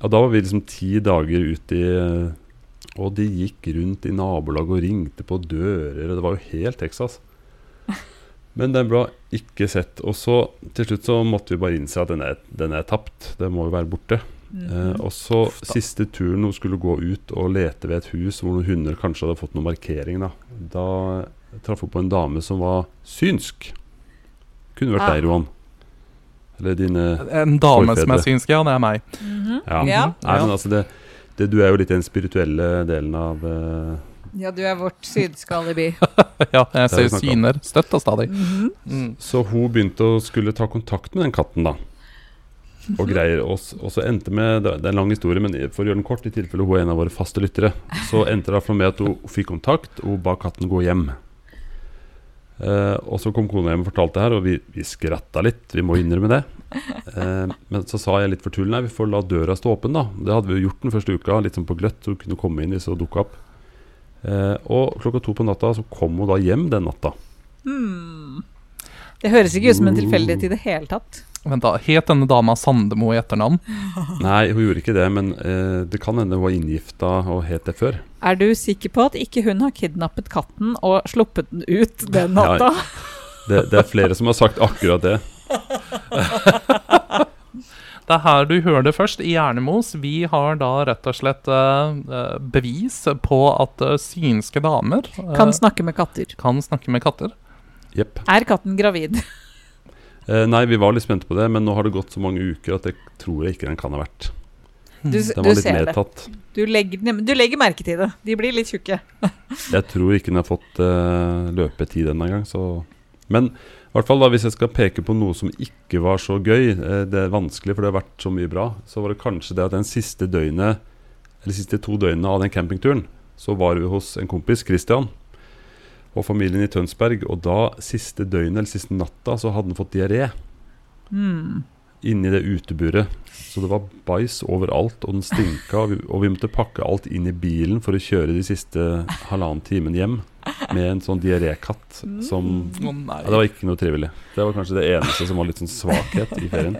[SPEAKER 3] Ja, da var vi liksom ti dager ute i eh, Og de gikk rundt i nabolaget og ringte på dører, og det var jo helt Texas. Men den ble ikke sett. Og så til slutt så måtte vi bare innse at den er, den er tapt. Den må jo være borte.
[SPEAKER 1] Mm.
[SPEAKER 3] Eh, og så siste turen hun skulle gå ut og lete ved et hus hvor noen hunder kanskje hadde fått noen markering. Da, da traff hun på en dame som var synsk. Kunne vært
[SPEAKER 1] Ah.
[SPEAKER 3] deg, Roan. Eller dine
[SPEAKER 2] En dame som
[SPEAKER 3] Forfedre.
[SPEAKER 2] er synsk, ja, det er meg.
[SPEAKER 1] Mhm.
[SPEAKER 3] Ja.
[SPEAKER 1] Ja.
[SPEAKER 3] Nei, men altså, det, det, du er jo litt den spirituelle delen av eh,
[SPEAKER 1] ja, du er vårt synske alibi.
[SPEAKER 2] ja, jeg
[SPEAKER 3] Det har vi
[SPEAKER 2] ser
[SPEAKER 3] snakket om.
[SPEAKER 2] syner støtt og stadig.
[SPEAKER 1] Mhm.
[SPEAKER 2] Mm.
[SPEAKER 3] Så hun begynte å skulle ta kontakt med den katten, da. Og greier og, s- og så endte med Det er en lang historie, men for å gjøre den kort, i tilfelle hun er en av våre faste lyttere, så endte det iallfall med at hun fikk kontakt, og hun ba katten gå hjem. Eh, og så kom kona hjem og fortalte det her, og vi, vi skratta litt. Vi må innrømme det. Eh, men så sa jeg litt for tull, nei, vi får la døra stå åpen, da. Det hadde vi jo gjort den første uka, litt sånn på gløtt, så hun kunne komme inn hvis hun dukka opp. Eh, og klokka to på natta så kom hun da hjem den natta.
[SPEAKER 1] Hmm. Det høres ikke ut som en tilfeldighet i det hele tatt.
[SPEAKER 2] Vent da, Het denne dama Sandemo i etternavn?
[SPEAKER 3] Nei, hun gjorde ikke det, men eh, det kan hende hun var inngifta og het det før.
[SPEAKER 1] Er du sikker på at ikke hun har kidnappet katten og sluppet den ut den natta?
[SPEAKER 3] Det, det er flere som har sagt akkurat det.
[SPEAKER 2] Det er her du hører det først, i Hjernemos. Vi har da rett og slett eh, eh, bevis på at eh, synske damer eh,
[SPEAKER 1] Kan snakke med katter.
[SPEAKER 2] kan snakke med katter.
[SPEAKER 3] Jepp.
[SPEAKER 1] Er katten gravid?
[SPEAKER 3] Eh, nei, vi var litt spente på det, men nå har det gått så mange uker at det tror jeg ikke den kan ha vært.
[SPEAKER 1] Du,
[SPEAKER 3] Den
[SPEAKER 1] du
[SPEAKER 3] var litt
[SPEAKER 1] ser det.
[SPEAKER 3] medtatt.
[SPEAKER 1] Du legger, den- du legger merke til det. De blir litt tjukke.
[SPEAKER 3] Jeg tror ikke den har fått eh, løpetid ennå engang, så Men i hvert fall da, hvis jeg skal peke på noe som ikke var så gøy, eh, det er vanskelig, for det har vært så mye bra, så var det kanskje det at den siste døgnet, eller siste to døgnene av den campingturen, så var vi hos en kompis, Christian, og familien i Tønsberg, og da, siste døgnet, eller siste natta, så hadde han fått diaré
[SPEAKER 1] Hmm.
[SPEAKER 3] inni det uteburet. Så det var bæsj overalt, og den stinka. Og vi, og vi måtte pakke alt inn i bilen for å kjøre de siste halvannen timen hjem med en sånn diarékatt som
[SPEAKER 2] Å nei,
[SPEAKER 3] ja, Det var ikke noe trivelig. Det var kanskje det eneste som var litt sånn svakhet i ferien.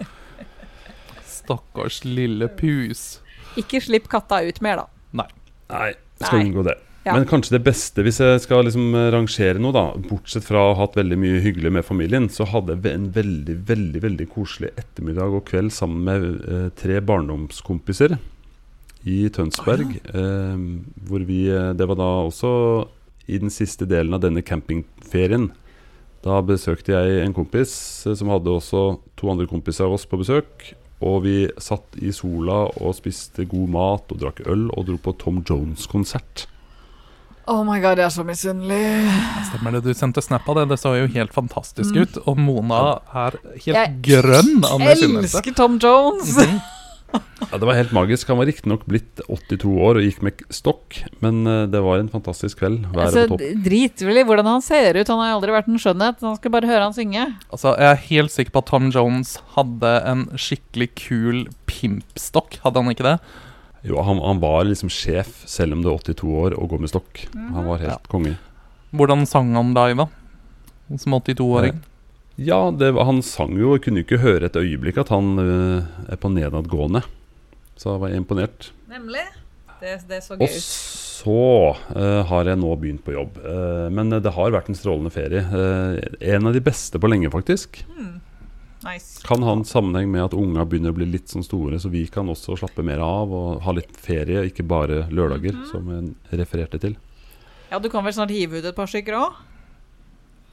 [SPEAKER 2] stakkars lille pus.
[SPEAKER 1] Ikke slipp katta ut mer, da.
[SPEAKER 3] Nei, skal
[SPEAKER 1] Nei.
[SPEAKER 3] unngå det.
[SPEAKER 1] Ja.
[SPEAKER 3] Men kanskje det beste, hvis jeg skal liksom eh, rangere noe, da, bortsett fra å ha hatt veldig mye hyggelig med familien, så hadde jeg ve- en veldig, veldig veldig koselig ettermiddag og kveld sammen med eh, tre barndomskompiser i Tønsberg. Eh, hvor vi eh, Det var da også i den siste delen av denne campingferien. Da besøkte jeg en kompis eh, som hadde også to andre kompiser av oss på besøk. Og vi satt i sola og spiste god mat og drakk øl og dro på Tom Jones-konsert.
[SPEAKER 1] Oh my god, jeg er så misunnelig.
[SPEAKER 2] Stemmer det, du sendte snap av det? Det så jo helt fantastisk ut. Og Mona er helt
[SPEAKER 1] Mm. Jeg
[SPEAKER 2] grønn av misunnelse.
[SPEAKER 1] Elsker Tom Jones!
[SPEAKER 2] Mhm.
[SPEAKER 3] Ja, Det var helt magisk. Han var riktignok blitt 82 år og gikk med k- stokk, men eh, det var en fantastisk kveld. Været
[SPEAKER 1] Altså,
[SPEAKER 3] på topp.
[SPEAKER 1] drit vel i hvordan han ser ut, han har jo aldri vært en skjønnhet. Han skal bare høre han synge.
[SPEAKER 2] Altså, jeg er helt sikker på at Tom Jones hadde en skikkelig kul pimpstokk, hadde han ikke det?
[SPEAKER 3] Jo, han, han var liksom sjef, selv om det er 82 år og går med stokk. Han var helt konge.
[SPEAKER 2] Hvordan sang han live, da? Som 82-åring.
[SPEAKER 3] Ja, det, var- han sang jo og kunne ikke høre et øyeblikk at han eh, er på nedadgående. Så jeg var imponert.
[SPEAKER 1] Nemlig. Det, så
[SPEAKER 3] Og så eh, har jeg nå begynt på jobb. Eh, men det har vært en strålende ferie. Eh, en av de beste på lenge, faktisk.
[SPEAKER 1] Hmm. Nice.
[SPEAKER 3] Kan ha en sammenheng med at unga begynner å bli litt sånn store, så vi kan også slappe mer av og ha litt ferie, ikke bare lørdager,
[SPEAKER 1] Mhm.
[SPEAKER 3] som jeg refererte til.
[SPEAKER 1] Ja, du kan vel snart hive ut et par stykker òg?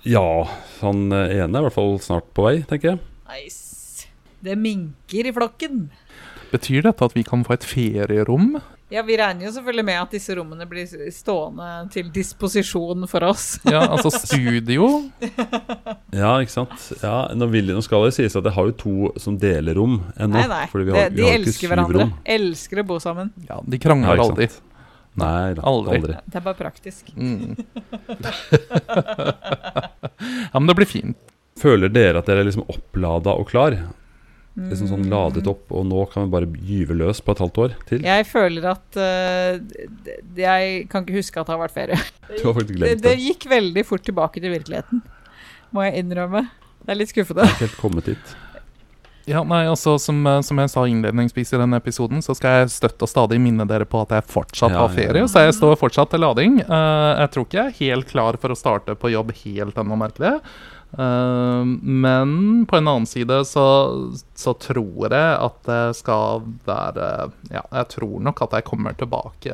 [SPEAKER 3] Ja, han eh, ene er i hvert fall snart på vei, tenker jeg.
[SPEAKER 1] Nice. Det minker i flokken.
[SPEAKER 2] Betyr dette at vi kan få et ferierom?
[SPEAKER 1] Ja, vi regner jo selvfølgelig med at disse rommene blir stående til disposisjon for oss.
[SPEAKER 2] Ja, altså studio?
[SPEAKER 3] Ja, ikke sant. Ja, nå, vil, nå skal det sies at jeg har jo to som deler rom ennå.
[SPEAKER 1] Nei, nei.
[SPEAKER 3] fordi vi har-
[SPEAKER 1] de
[SPEAKER 3] vi
[SPEAKER 1] de
[SPEAKER 3] har ikke
[SPEAKER 1] elsker
[SPEAKER 3] syv
[SPEAKER 1] hverandre.
[SPEAKER 3] rom.
[SPEAKER 1] Elsker å bo sammen.
[SPEAKER 2] Ja, de krangler
[SPEAKER 3] Ja, ikke
[SPEAKER 2] aldri.
[SPEAKER 3] Nei da,
[SPEAKER 2] Aldri.
[SPEAKER 3] aldri.
[SPEAKER 1] Det er bare praktisk.
[SPEAKER 2] Mm. ja, men det blir fint.
[SPEAKER 3] Føler dere at dere er liksom opplada og klar? Liksom
[SPEAKER 1] Hmm.
[SPEAKER 3] sånn ladet opp, og nå kan vi bare gyve løs på et halvt år til?
[SPEAKER 1] Jeg føler at eh, d- d- Jeg kan ikke huske at det har vært ferie.
[SPEAKER 3] Du har faktisk
[SPEAKER 1] Det,
[SPEAKER 3] glemt
[SPEAKER 1] det
[SPEAKER 3] det.
[SPEAKER 1] gikk veldig fort tilbake til virkeligheten, må jeg innrømme. Det er litt skuffende.
[SPEAKER 3] Ikke helt kommet dit.
[SPEAKER 2] Ja, nei, altså, som, eh, som jeg sa innledningsvis i denne episoden, så skal jeg støtt og stadig minne dere på at jeg fortsatt
[SPEAKER 3] Ja,
[SPEAKER 2] har
[SPEAKER 3] ja, ja.
[SPEAKER 2] ferie, så jeg står fortsatt til lading. Eh, jeg tror ikke jeg er helt klar for å starte på jobb helt ennå, merker jeg. Eh, men på en annen side så, så tror jeg at det skal være Ja, jeg tror nok at jeg kommer tilbake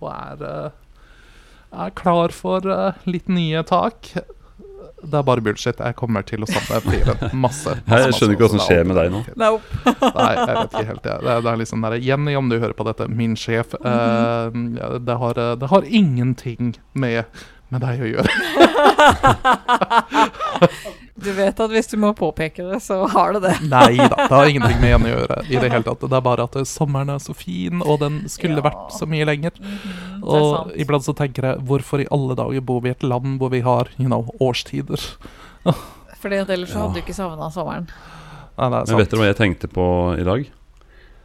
[SPEAKER 2] og er, eh, er klar for eh, litt nye tak. Det er bare bullshit. Jeg kommer til å savne fyren masse. masse,
[SPEAKER 3] Jeg
[SPEAKER 2] masse,
[SPEAKER 3] skjønner ikke hva som
[SPEAKER 2] masse. Det er
[SPEAKER 3] skjer med deg nå.
[SPEAKER 2] alltid-
[SPEAKER 1] Nope.
[SPEAKER 2] Nei, jeg vet ikke helt. jeg. Det, er- det er liksom der, Jenny, om du hører på dette, min sjef eh,
[SPEAKER 3] Mhm.
[SPEAKER 2] det, har, eh, det har ingenting med, med deg å gjøre.
[SPEAKER 1] Du vet at hvis du må påpeke det, så har du det.
[SPEAKER 2] Nei da, det har ingenting med Jenny å gjøre. i det hele tatt. Det er bare at eh, sommeren er så fin, og den skulle
[SPEAKER 1] Ja.
[SPEAKER 2] vært så mye lenger.
[SPEAKER 1] Mhm, det er
[SPEAKER 2] Og
[SPEAKER 1] sant.
[SPEAKER 2] iblant så tenker jeg, hvorfor i alle dager bor vi i et land hvor vi har you know, årstider?
[SPEAKER 1] Fordi at ellers så hadde
[SPEAKER 3] Ja.
[SPEAKER 1] du ikke savna sommeren.
[SPEAKER 2] Nei, det
[SPEAKER 3] Men vet
[SPEAKER 2] er sant.
[SPEAKER 3] dere hva jeg tenkte på i dag?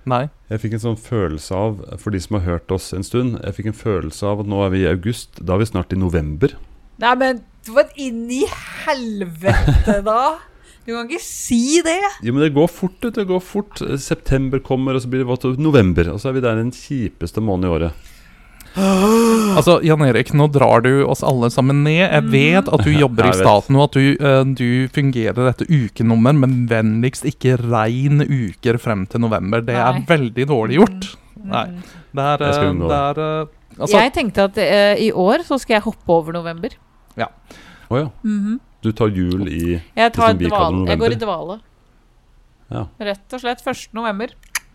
[SPEAKER 2] Nei.
[SPEAKER 3] Jeg fikk en sånn følelse av, for de som har hørt oss en stund Jeg fikk en følelse av at nå er vi i august, da er vi snart i november.
[SPEAKER 1] Nei, men hva inn i helvete, da? Du kan ikke si det!
[SPEAKER 3] Jo, men det går fort, vet du. Det går fort. September kommer, og så blir det vått. og November. Og så er vi der den kjipeste måneden i året.
[SPEAKER 2] Altså, Jan Erik, nå drar du oss alle sammen ned. Jeg vet at du jobber i
[SPEAKER 3] Jeg vet.
[SPEAKER 2] staten, og at du, eh, du fungerer etter ukenummer, men vennligst ikke regn uker frem til november. Det er
[SPEAKER 1] Nei.
[SPEAKER 2] veldig dårlig gjort. Nei. Det er,
[SPEAKER 3] Jeg skal
[SPEAKER 2] eh,
[SPEAKER 3] unngå
[SPEAKER 2] det er eh, altså,
[SPEAKER 1] Mm. jeg tenkte at eh, i år så skal jeg hoppe over november.
[SPEAKER 3] Å ja.
[SPEAKER 1] Mhm.
[SPEAKER 3] Du tar jul i
[SPEAKER 1] Jeg, tar
[SPEAKER 3] som vi kaller
[SPEAKER 1] dvale. jeg
[SPEAKER 3] november.
[SPEAKER 1] går i dvale.
[SPEAKER 3] Ja.
[SPEAKER 1] Rett og slett 1. november.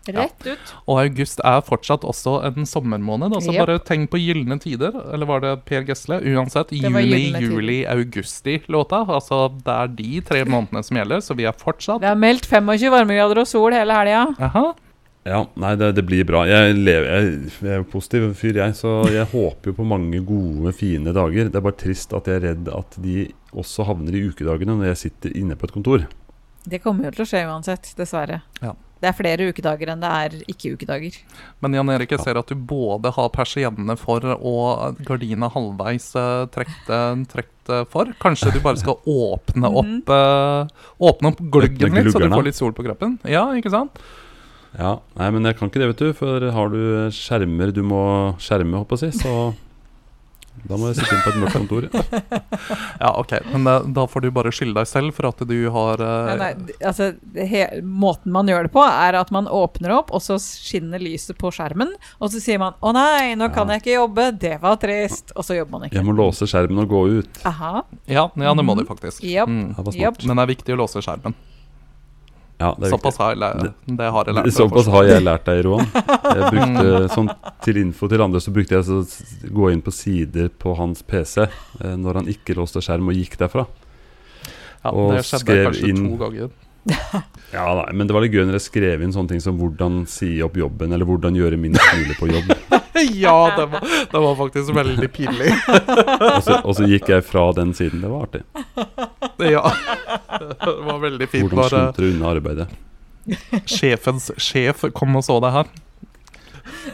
[SPEAKER 1] Rett ut.
[SPEAKER 2] Og august er fortsatt også en sommermåned. Altså
[SPEAKER 1] Jep.
[SPEAKER 2] Bare tenk på gylne tider, eller var det Per Gessle? Uansett,
[SPEAKER 1] Det var
[SPEAKER 2] juni,
[SPEAKER 1] Gyllene Tider.
[SPEAKER 2] juli, augusti-låta. Altså, det er de tre månedene som gjelder, så vi er fortsatt
[SPEAKER 1] Det er meldt 25 varmegrader og sol hele helga.
[SPEAKER 2] Aha.
[SPEAKER 3] Ja, nei, det, det blir bra. Jeg, lever, jeg, jeg er jo positiv fyr, jeg. Så jeg håper jo på mange gode, fine dager. Det er bare trist at jeg er redd at de også havner i ukedagene når jeg sitter inne på et kontor.
[SPEAKER 1] Det kommer jo til å skje uansett, dessverre.
[SPEAKER 2] Ja.
[SPEAKER 1] Det er flere ukedager enn det er ikke-ukedager.
[SPEAKER 2] Men Jan Erik, jeg ser at du både har persiennene for og gardina halvveis eh, trekt, eh, trekt eh, for. Kanskje du bare skal åpne
[SPEAKER 1] Mhm.
[SPEAKER 2] opp, eh, åpne opp
[SPEAKER 3] Åpne
[SPEAKER 2] gluggen litt, så du
[SPEAKER 3] gluggerne.
[SPEAKER 2] får litt sol på kroppen? Ja, ikke sant?
[SPEAKER 3] Ja, Nei, men jeg kan ikke det, vet du. For har du skjermer du må skjerme, håper jeg å si, så da må jeg sitte inne på et mørkt kontor.
[SPEAKER 2] Ja, ok. Men eh, da får du bare skylde deg selv for at du har eh,
[SPEAKER 1] Men nei, d- altså, det he måten man gjør det på, er at man åpner opp, og så skinner lyset på skjermen. Og så sier man 'Å nei, nå kan
[SPEAKER 3] Ja.
[SPEAKER 1] jeg ikke jobbe. Det var trist.' Og så jobber man ikke.
[SPEAKER 3] Jeg må låse skjermen og gå ut.
[SPEAKER 1] Aha.
[SPEAKER 2] Ja, ja det må du faktisk.
[SPEAKER 1] Mhm. Japp.
[SPEAKER 2] Mm.
[SPEAKER 3] Det var smart.
[SPEAKER 1] Japp.
[SPEAKER 2] Men det er viktig å låse skjermen.
[SPEAKER 3] Ja, det er viktig.
[SPEAKER 2] Såpass har jeg lært. Det har jeg lært. meg
[SPEAKER 3] Såpass
[SPEAKER 2] fortsatt.
[SPEAKER 3] har jeg lært deg, Roan. Jeg brukte, sånn, til info til andre så brukte jeg så s- gå inn på sider på hans PC eh, når han ikke låste skjerm og gikk derfra.
[SPEAKER 2] ja,
[SPEAKER 3] og
[SPEAKER 2] det skjedde
[SPEAKER 3] skrev
[SPEAKER 2] kanskje
[SPEAKER 3] inn-
[SPEAKER 2] to ganger.
[SPEAKER 3] Ja, nei, Men det var litt gøy når jeg skrev inn sånne ting som hvordan si opp jobben, eller hvordan gjøre minst mulig på jobb.
[SPEAKER 2] ja, det var, det var faktisk veldig pinlig.
[SPEAKER 3] Og så, og så gikk jeg fra den siden. Det var artig.
[SPEAKER 2] ja. Det var veldig fint
[SPEAKER 3] Hvordan
[SPEAKER 2] når
[SPEAKER 3] sluntre unna arbeidet.
[SPEAKER 2] eh, sjefens sjef kom og så deg her.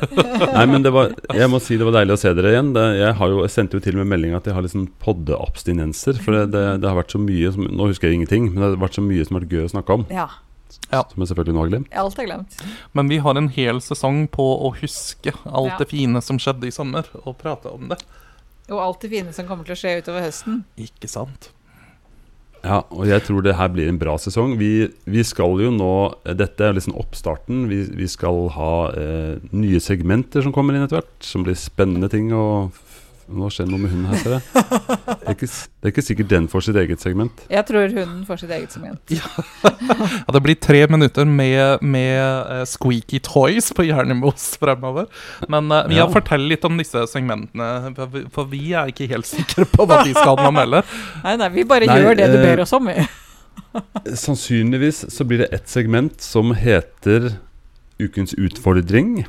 [SPEAKER 3] Nei, men det var, jeg må si det var deilig å se dere igjen. Det, jeg, har jo, jeg sendte jo til og med melding at jeg har litt sånn poddeabstinenser. For det, det, det har vært så mye som Nå husker jeg ingenting, men det har vært så mye som har vært gøy å snakke om.
[SPEAKER 1] Ja.
[SPEAKER 2] Ja.
[SPEAKER 3] Som jeg selvfølgelig nå har glemt.
[SPEAKER 1] Alt er glemt.
[SPEAKER 2] Men vi har en hel sesong på å huske alt
[SPEAKER 1] Ja.
[SPEAKER 2] det fine som skjedde i sommer, og prate om det.
[SPEAKER 1] Og alt det fine som kommer til å skje utover høsten.
[SPEAKER 2] Ikke sant?
[SPEAKER 3] Ja, og jeg tror det her blir en bra sesong. Vi, vi skal jo nå Dette er liksom oppstarten. Vi, vi skal ha eh, nye segmenter som kommer inn etter hvert, som blir spennende ting. Og f- nå skjer det noe med hunden her, ser jeg. Det er, ikke, s- det er ikke sikkert den får sitt eget segment.
[SPEAKER 1] Jeg tror hunden får sitt eget segment.
[SPEAKER 2] Ja, det blir tre minutter med, med eh, squeaky toys på Hjernemos fremover. Men eh, vi
[SPEAKER 3] Ja.
[SPEAKER 2] har fortell litt om disse segmentene, for vi- for vi er ikke helt sikre på hva de skal anmelde.
[SPEAKER 1] Nei, nei, vi bare
[SPEAKER 3] Nei,
[SPEAKER 1] gjør det du
[SPEAKER 3] eh,
[SPEAKER 1] ber oss om. vi.
[SPEAKER 3] Sannsynligvis så blir det ett segment som heter Ukens utfordring.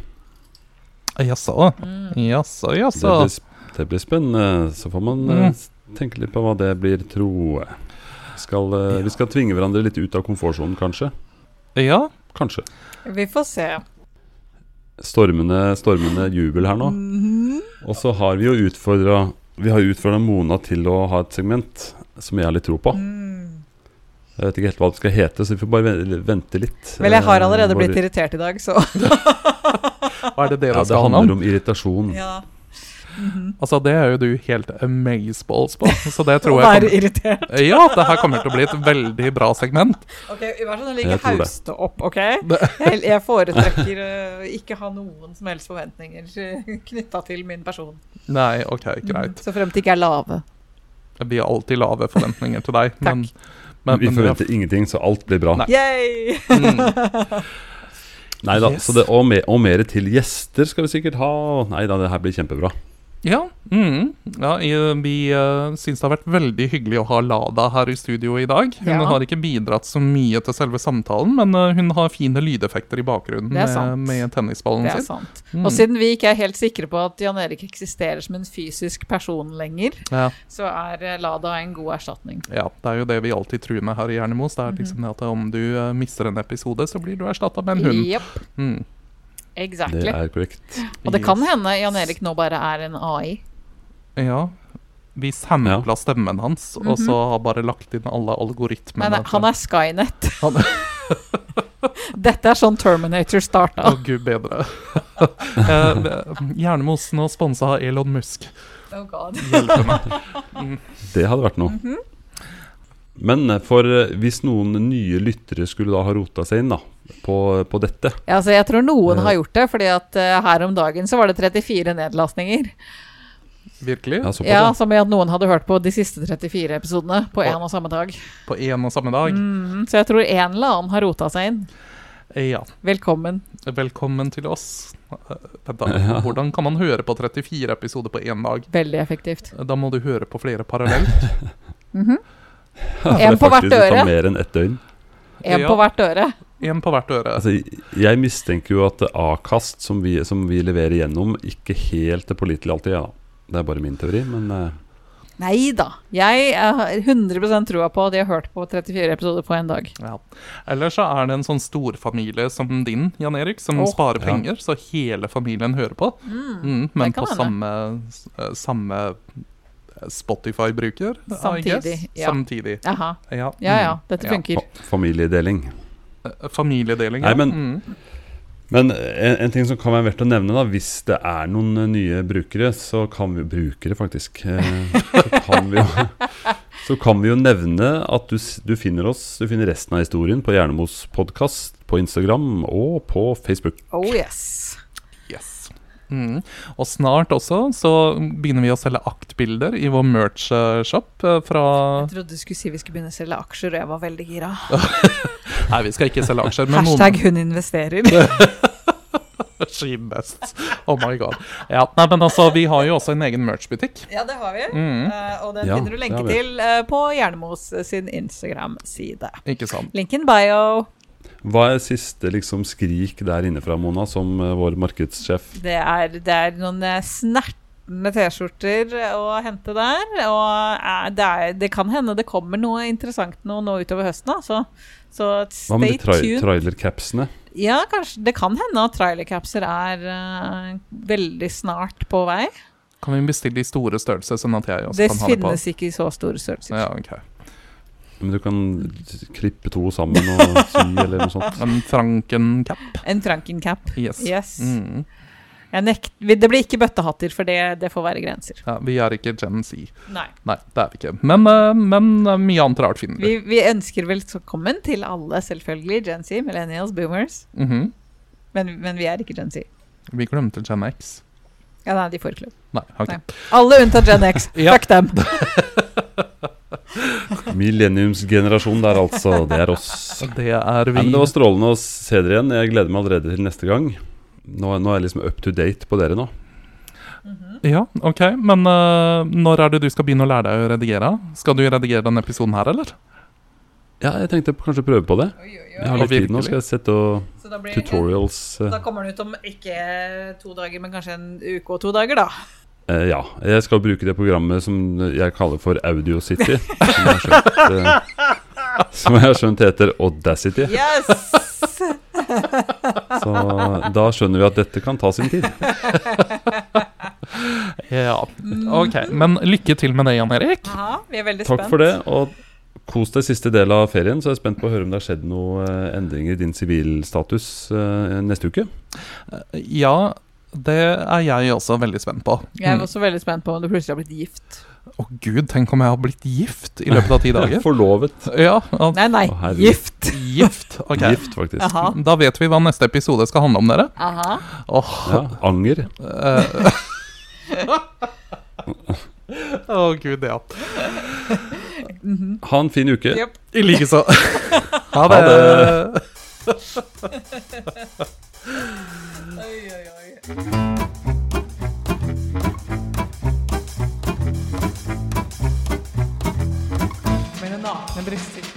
[SPEAKER 2] Jaså,
[SPEAKER 1] Mm.
[SPEAKER 2] jaså,
[SPEAKER 3] Det blir,
[SPEAKER 2] jaså.
[SPEAKER 3] sp- det blir spennende. Så får man eh,
[SPEAKER 2] Mm.
[SPEAKER 3] s- tenke litt på hva det blir, tro jeg. Skal, eh, Vi skal tvinge hverandre litt ut av komfortsonen, kanskje.
[SPEAKER 2] Ja,
[SPEAKER 3] Kanskje.
[SPEAKER 1] Vi får se.
[SPEAKER 3] stormende, stormende jubel her nå.
[SPEAKER 1] Mm.
[SPEAKER 3] Og så har vi jo utfordra Vi har utfordra Mona til å ha et segment som jeg har litt tro på.
[SPEAKER 1] Mm.
[SPEAKER 3] Jeg vet ikke helt hva det skal hete, så vi får bare ve- vente litt.
[SPEAKER 1] Vel, jeg har
[SPEAKER 3] Eh,
[SPEAKER 1] allerede
[SPEAKER 3] hvor-
[SPEAKER 1] blitt irritert i dag, så
[SPEAKER 2] hva er det dere
[SPEAKER 3] Ja, det
[SPEAKER 2] skal handle om?
[SPEAKER 3] handler om irritasjon.
[SPEAKER 1] ja.
[SPEAKER 2] Altså, det er jo du helt amazeballs på, så det tror
[SPEAKER 1] Og være
[SPEAKER 2] jeg kommer,
[SPEAKER 1] irritert.
[SPEAKER 2] Ja, det her kommer til å bli et veldig bra segment.
[SPEAKER 1] Ok, Vær så snill,
[SPEAKER 3] Jeg
[SPEAKER 1] ikke
[SPEAKER 3] tror det.
[SPEAKER 1] haus det opp, OK? Jeg, jeg foretrekker eh, ikke ha noen som helst forventninger knytta til min person.
[SPEAKER 2] Nei, OK, greit.
[SPEAKER 1] Så fremt de ikke er lave.
[SPEAKER 2] Vi har alltid lave forventninger til deg. men, men,
[SPEAKER 3] Vi
[SPEAKER 2] men det er-
[SPEAKER 3] forventer ingenting, så alt blir bra.
[SPEAKER 2] Nei.
[SPEAKER 1] Yay!
[SPEAKER 2] Mm.
[SPEAKER 3] Nei da,
[SPEAKER 2] Yes.
[SPEAKER 3] så det, og, mer, og mer til gjester skal vi sikkert ha. og- Nei da, det her blir kjempebra.
[SPEAKER 2] Ja, mm. ja i- vi uh, syns det har vært veldig hyggelig å ha Lada her i studio i dag. Hun
[SPEAKER 1] Ja.
[SPEAKER 2] har ikke bidratt så mye til selve samtalen, men eh, hun har fine lydeffekter i bakgrunnen
[SPEAKER 1] Det er
[SPEAKER 2] med,
[SPEAKER 1] sant.
[SPEAKER 2] med tennisballen
[SPEAKER 1] Det er
[SPEAKER 2] sin.
[SPEAKER 1] sant.
[SPEAKER 2] Mm.
[SPEAKER 1] Og siden vi ikke er helt sikre på at Jan Erik eksisterer som en fysisk person lenger,
[SPEAKER 2] Ja,
[SPEAKER 1] så er eh, Lada en god erstatning.
[SPEAKER 2] ja, det er jo det vi alltid truer med her i
[SPEAKER 1] Mhm.
[SPEAKER 2] Hjernemos. Det er liksom det at om du eh, mister en episode, så blir du erstatta med en hund.
[SPEAKER 1] Jepp.
[SPEAKER 2] Mm.
[SPEAKER 1] Exactly.
[SPEAKER 3] Det er korrekt.
[SPEAKER 1] Og det kan hende Jan Erik nå bare er en AI.
[SPEAKER 2] Ja. Vi sampla stemmen hans, og så har bare lagt inn alle algoritmene.
[SPEAKER 1] Men Mhm. eh, han er Skynet.
[SPEAKER 2] altså. Han-
[SPEAKER 1] Dette er sånn Terminator starta.
[SPEAKER 2] Å, gud bedre. Eh, Hjernemosen og sponsa av Elon Musk.
[SPEAKER 1] Oh God.
[SPEAKER 2] Hjelpe meg.
[SPEAKER 3] Det hadde vært noe.
[SPEAKER 1] Mhm.
[SPEAKER 3] Men eh, for eh, hvis noen nye lyttere skulle da ha rota seg inn da, på, på dette
[SPEAKER 1] Ja, altså, jeg tror noen
[SPEAKER 3] Eh.
[SPEAKER 1] har gjort det, fordi at eh, her om dagen så var det 34 nedlastninger.
[SPEAKER 2] Virkelig.
[SPEAKER 3] Ja, såpass.
[SPEAKER 1] Ja,
[SPEAKER 3] ja.
[SPEAKER 1] Som i at noen hadde hørt på de siste 34 episodene på én og samme dag.
[SPEAKER 2] På én og samme dag.
[SPEAKER 1] Mm, så jeg tror en eller annen har rota seg inn.
[SPEAKER 2] Eh, Ja.
[SPEAKER 1] Velkommen.
[SPEAKER 2] Velkommen til oss. Eh, Vent, da. Hvordan kan man høre på 34 episoder på én dag?
[SPEAKER 1] Veldig effektivt. Mhm.
[SPEAKER 2] Da må du høre på flere parallelt.
[SPEAKER 3] det er
[SPEAKER 1] En på hvert
[SPEAKER 3] faktisk- det tar
[SPEAKER 1] øre.
[SPEAKER 3] Mer enn ett døgn.
[SPEAKER 1] Én
[SPEAKER 2] Ja.
[SPEAKER 1] på hvert øre.
[SPEAKER 2] Én på hvert øre.
[SPEAKER 3] Altså, jeg- jeg mistenker jo at A-kast, som, vi- som vi leverer gjennom, ikke helt er pålitelig alltid. Ja. Det er bare min teori, men eh,
[SPEAKER 1] Nei da. Jeg eh, har 100 trua på at jeg har hørt på 34 episoder på én dag.
[SPEAKER 2] Ja. Eller så er det en sånn storfamilie som din, Jan Erik, som
[SPEAKER 1] Åh.
[SPEAKER 2] sparer
[SPEAKER 3] Ja.
[SPEAKER 2] penger, så hele familien hører på. Mm, men
[SPEAKER 1] det
[SPEAKER 2] på
[SPEAKER 1] kan
[SPEAKER 2] samme, eh, samme eh, Spotify-bruker. I
[SPEAKER 1] Samtidig,
[SPEAKER 2] guess.
[SPEAKER 1] ja.
[SPEAKER 2] Samtidig.
[SPEAKER 1] Jaha.
[SPEAKER 2] Ja,
[SPEAKER 1] Ja ja,
[SPEAKER 2] mm,
[SPEAKER 1] dette
[SPEAKER 2] ja.
[SPEAKER 1] funker.
[SPEAKER 3] fa- familiedeling.
[SPEAKER 2] Eh, Familiedeling,
[SPEAKER 3] Nei,
[SPEAKER 2] ja.
[SPEAKER 3] men-
[SPEAKER 2] Mm.
[SPEAKER 3] Men eh, en, en ting som kan være verdt å nevne, da, hvis det er noen eh, nye brukere, så kan vi Brukere, faktisk. eh, Så kan vi jo, så kan vi jo nevne at du, s- du finner oss, du finner resten av historien på Hjernemos podkast på Instagram og på Facebook.
[SPEAKER 1] Oh yes.
[SPEAKER 2] Yes. Mm. Og snart også så begynner vi å selge aktbilder i vår merch-shop eh, fra
[SPEAKER 1] Jeg trodde du skulle si vi skulle begynne å selge aksjer, og jeg var veldig gira.
[SPEAKER 2] Nei, vi skal ikke selge aksjer, men
[SPEAKER 1] Hashtag hun investerer.
[SPEAKER 2] She best. Oh my god. Ja, nei, men altså, vi har jo også en egen merch-butikk.
[SPEAKER 1] Ja, det har vi.
[SPEAKER 2] Mm.
[SPEAKER 1] Eh, og den
[SPEAKER 3] Ja,
[SPEAKER 1] finner du lenke
[SPEAKER 3] det har vi.
[SPEAKER 1] til eh, på Jernemos sin Instagram-side.
[SPEAKER 2] Ikke sant?
[SPEAKER 1] Linken bio.
[SPEAKER 3] Hva er siste liksom, skrik der inne fra Mona, som eh, vår markedssjef?
[SPEAKER 1] Det er, det er noen eh, snertne T-skjorter å hente der. Og eh, det, er, det kan hende det kommer noe interessant nå, nå utover høsten, altså. Så
[SPEAKER 3] Hva med
[SPEAKER 1] stay
[SPEAKER 3] de tra
[SPEAKER 1] tuned.
[SPEAKER 3] trailercapsene?
[SPEAKER 1] Ja, kanskje, det kan hende at trailercapser er eh, veldig snart på vei.
[SPEAKER 2] Kan vi bestille i store størrelser, sånn at jeg også
[SPEAKER 1] Det
[SPEAKER 2] kan ha det på?
[SPEAKER 1] finnes ikke i så store størrelser.
[SPEAKER 2] Ja, ok.
[SPEAKER 3] Men du kan klippe to sammen og sy eller noe sånt.
[SPEAKER 2] En Franken-cap.
[SPEAKER 1] En Franken-cap.
[SPEAKER 2] Yes.
[SPEAKER 1] Yes.
[SPEAKER 2] Mm.
[SPEAKER 1] Jeg nekt, det blir ikke bøttehatter, for det, det får være grenser.
[SPEAKER 2] Ja, vi er ikke Gen Z.
[SPEAKER 1] Nei.
[SPEAKER 2] Nei, det er vi ikke. Men, eh, men eh, mye annet rart finner
[SPEAKER 1] Vi,
[SPEAKER 2] vi.
[SPEAKER 1] vi ønsker velkommen til alle, selvfølgelig. Gen Z, millennials, boomers.
[SPEAKER 2] Mhm.
[SPEAKER 1] Men, men vi er ikke Gen Z.
[SPEAKER 2] Vi glemte Gen X.
[SPEAKER 1] Ja, nei, de får ikke lov.
[SPEAKER 2] Nei, ok.
[SPEAKER 1] Nei. Alle unntatt Gen X.
[SPEAKER 2] Ja.
[SPEAKER 1] Fuck dem.
[SPEAKER 3] Millenniumsgenerasjon der, altså. Det er oss.
[SPEAKER 2] Det er vi.
[SPEAKER 3] Nei, men det var strålende å se dere igjen. Jeg gleder meg allerede til neste gang. Nå, nå er jeg liksom up to date på dere nå.
[SPEAKER 2] Ja, ok. Men eh, når er det du skal begynne å lære deg å redigere? Skal du redigere denne episoden her, eller?
[SPEAKER 3] Ja, jeg tenkte på- kanskje prøve på det. Jeg har litt tid
[SPEAKER 2] Ja,
[SPEAKER 3] nå.
[SPEAKER 2] virkelig.
[SPEAKER 3] Skal jeg sette og
[SPEAKER 1] Så da, blir,
[SPEAKER 3] tutorials eh,
[SPEAKER 1] da kommer den ut om ikke to dager, men kanskje en uke og to dager, da.
[SPEAKER 3] eh, Ja. Jeg skal bruke det programmet som jeg kaller for Audio City. Som jeg har skjønt, eh, som jeg har skjønt heter Audacity.
[SPEAKER 1] Yes!
[SPEAKER 3] Så da skjønner vi at dette kan ta sin tid.
[SPEAKER 2] Ja. Mm. Ok, men lykke til med det, Jan Erik.
[SPEAKER 1] Aha, vi er veldig spent.
[SPEAKER 3] Takk for det. og Kos deg siste del av ferien, så jeg er spent på å høre om det har skjedd eh, noen endringer i din sivilstatus eh, neste uke.
[SPEAKER 2] Ja, Det er jeg også veldig spent på.
[SPEAKER 1] Jeg er
[SPEAKER 2] Mm.
[SPEAKER 1] også veldig spent på om du plutselig har blitt gift.
[SPEAKER 2] Å gud, tenk om jeg har blitt gift i løpet av ti dager.
[SPEAKER 3] Forlovet.
[SPEAKER 2] Ja, at,
[SPEAKER 1] Nei, nei,
[SPEAKER 3] Å, herregud.
[SPEAKER 1] gift!
[SPEAKER 2] gift. Ok.
[SPEAKER 3] Gift, faktisk.
[SPEAKER 1] Aha.
[SPEAKER 2] Da vet vi hva neste episode skal handle om, dere.
[SPEAKER 1] Aha.
[SPEAKER 2] Åh,
[SPEAKER 3] Ja, anger.
[SPEAKER 2] eh. Å gud, ja.
[SPEAKER 3] Ha en fin uke.
[SPEAKER 1] Yep.
[SPEAKER 2] I likeså. Ha
[SPEAKER 3] Ha
[SPEAKER 2] det.
[SPEAKER 3] det.
[SPEAKER 1] Oi, oi, oi. Mine nakne bryster.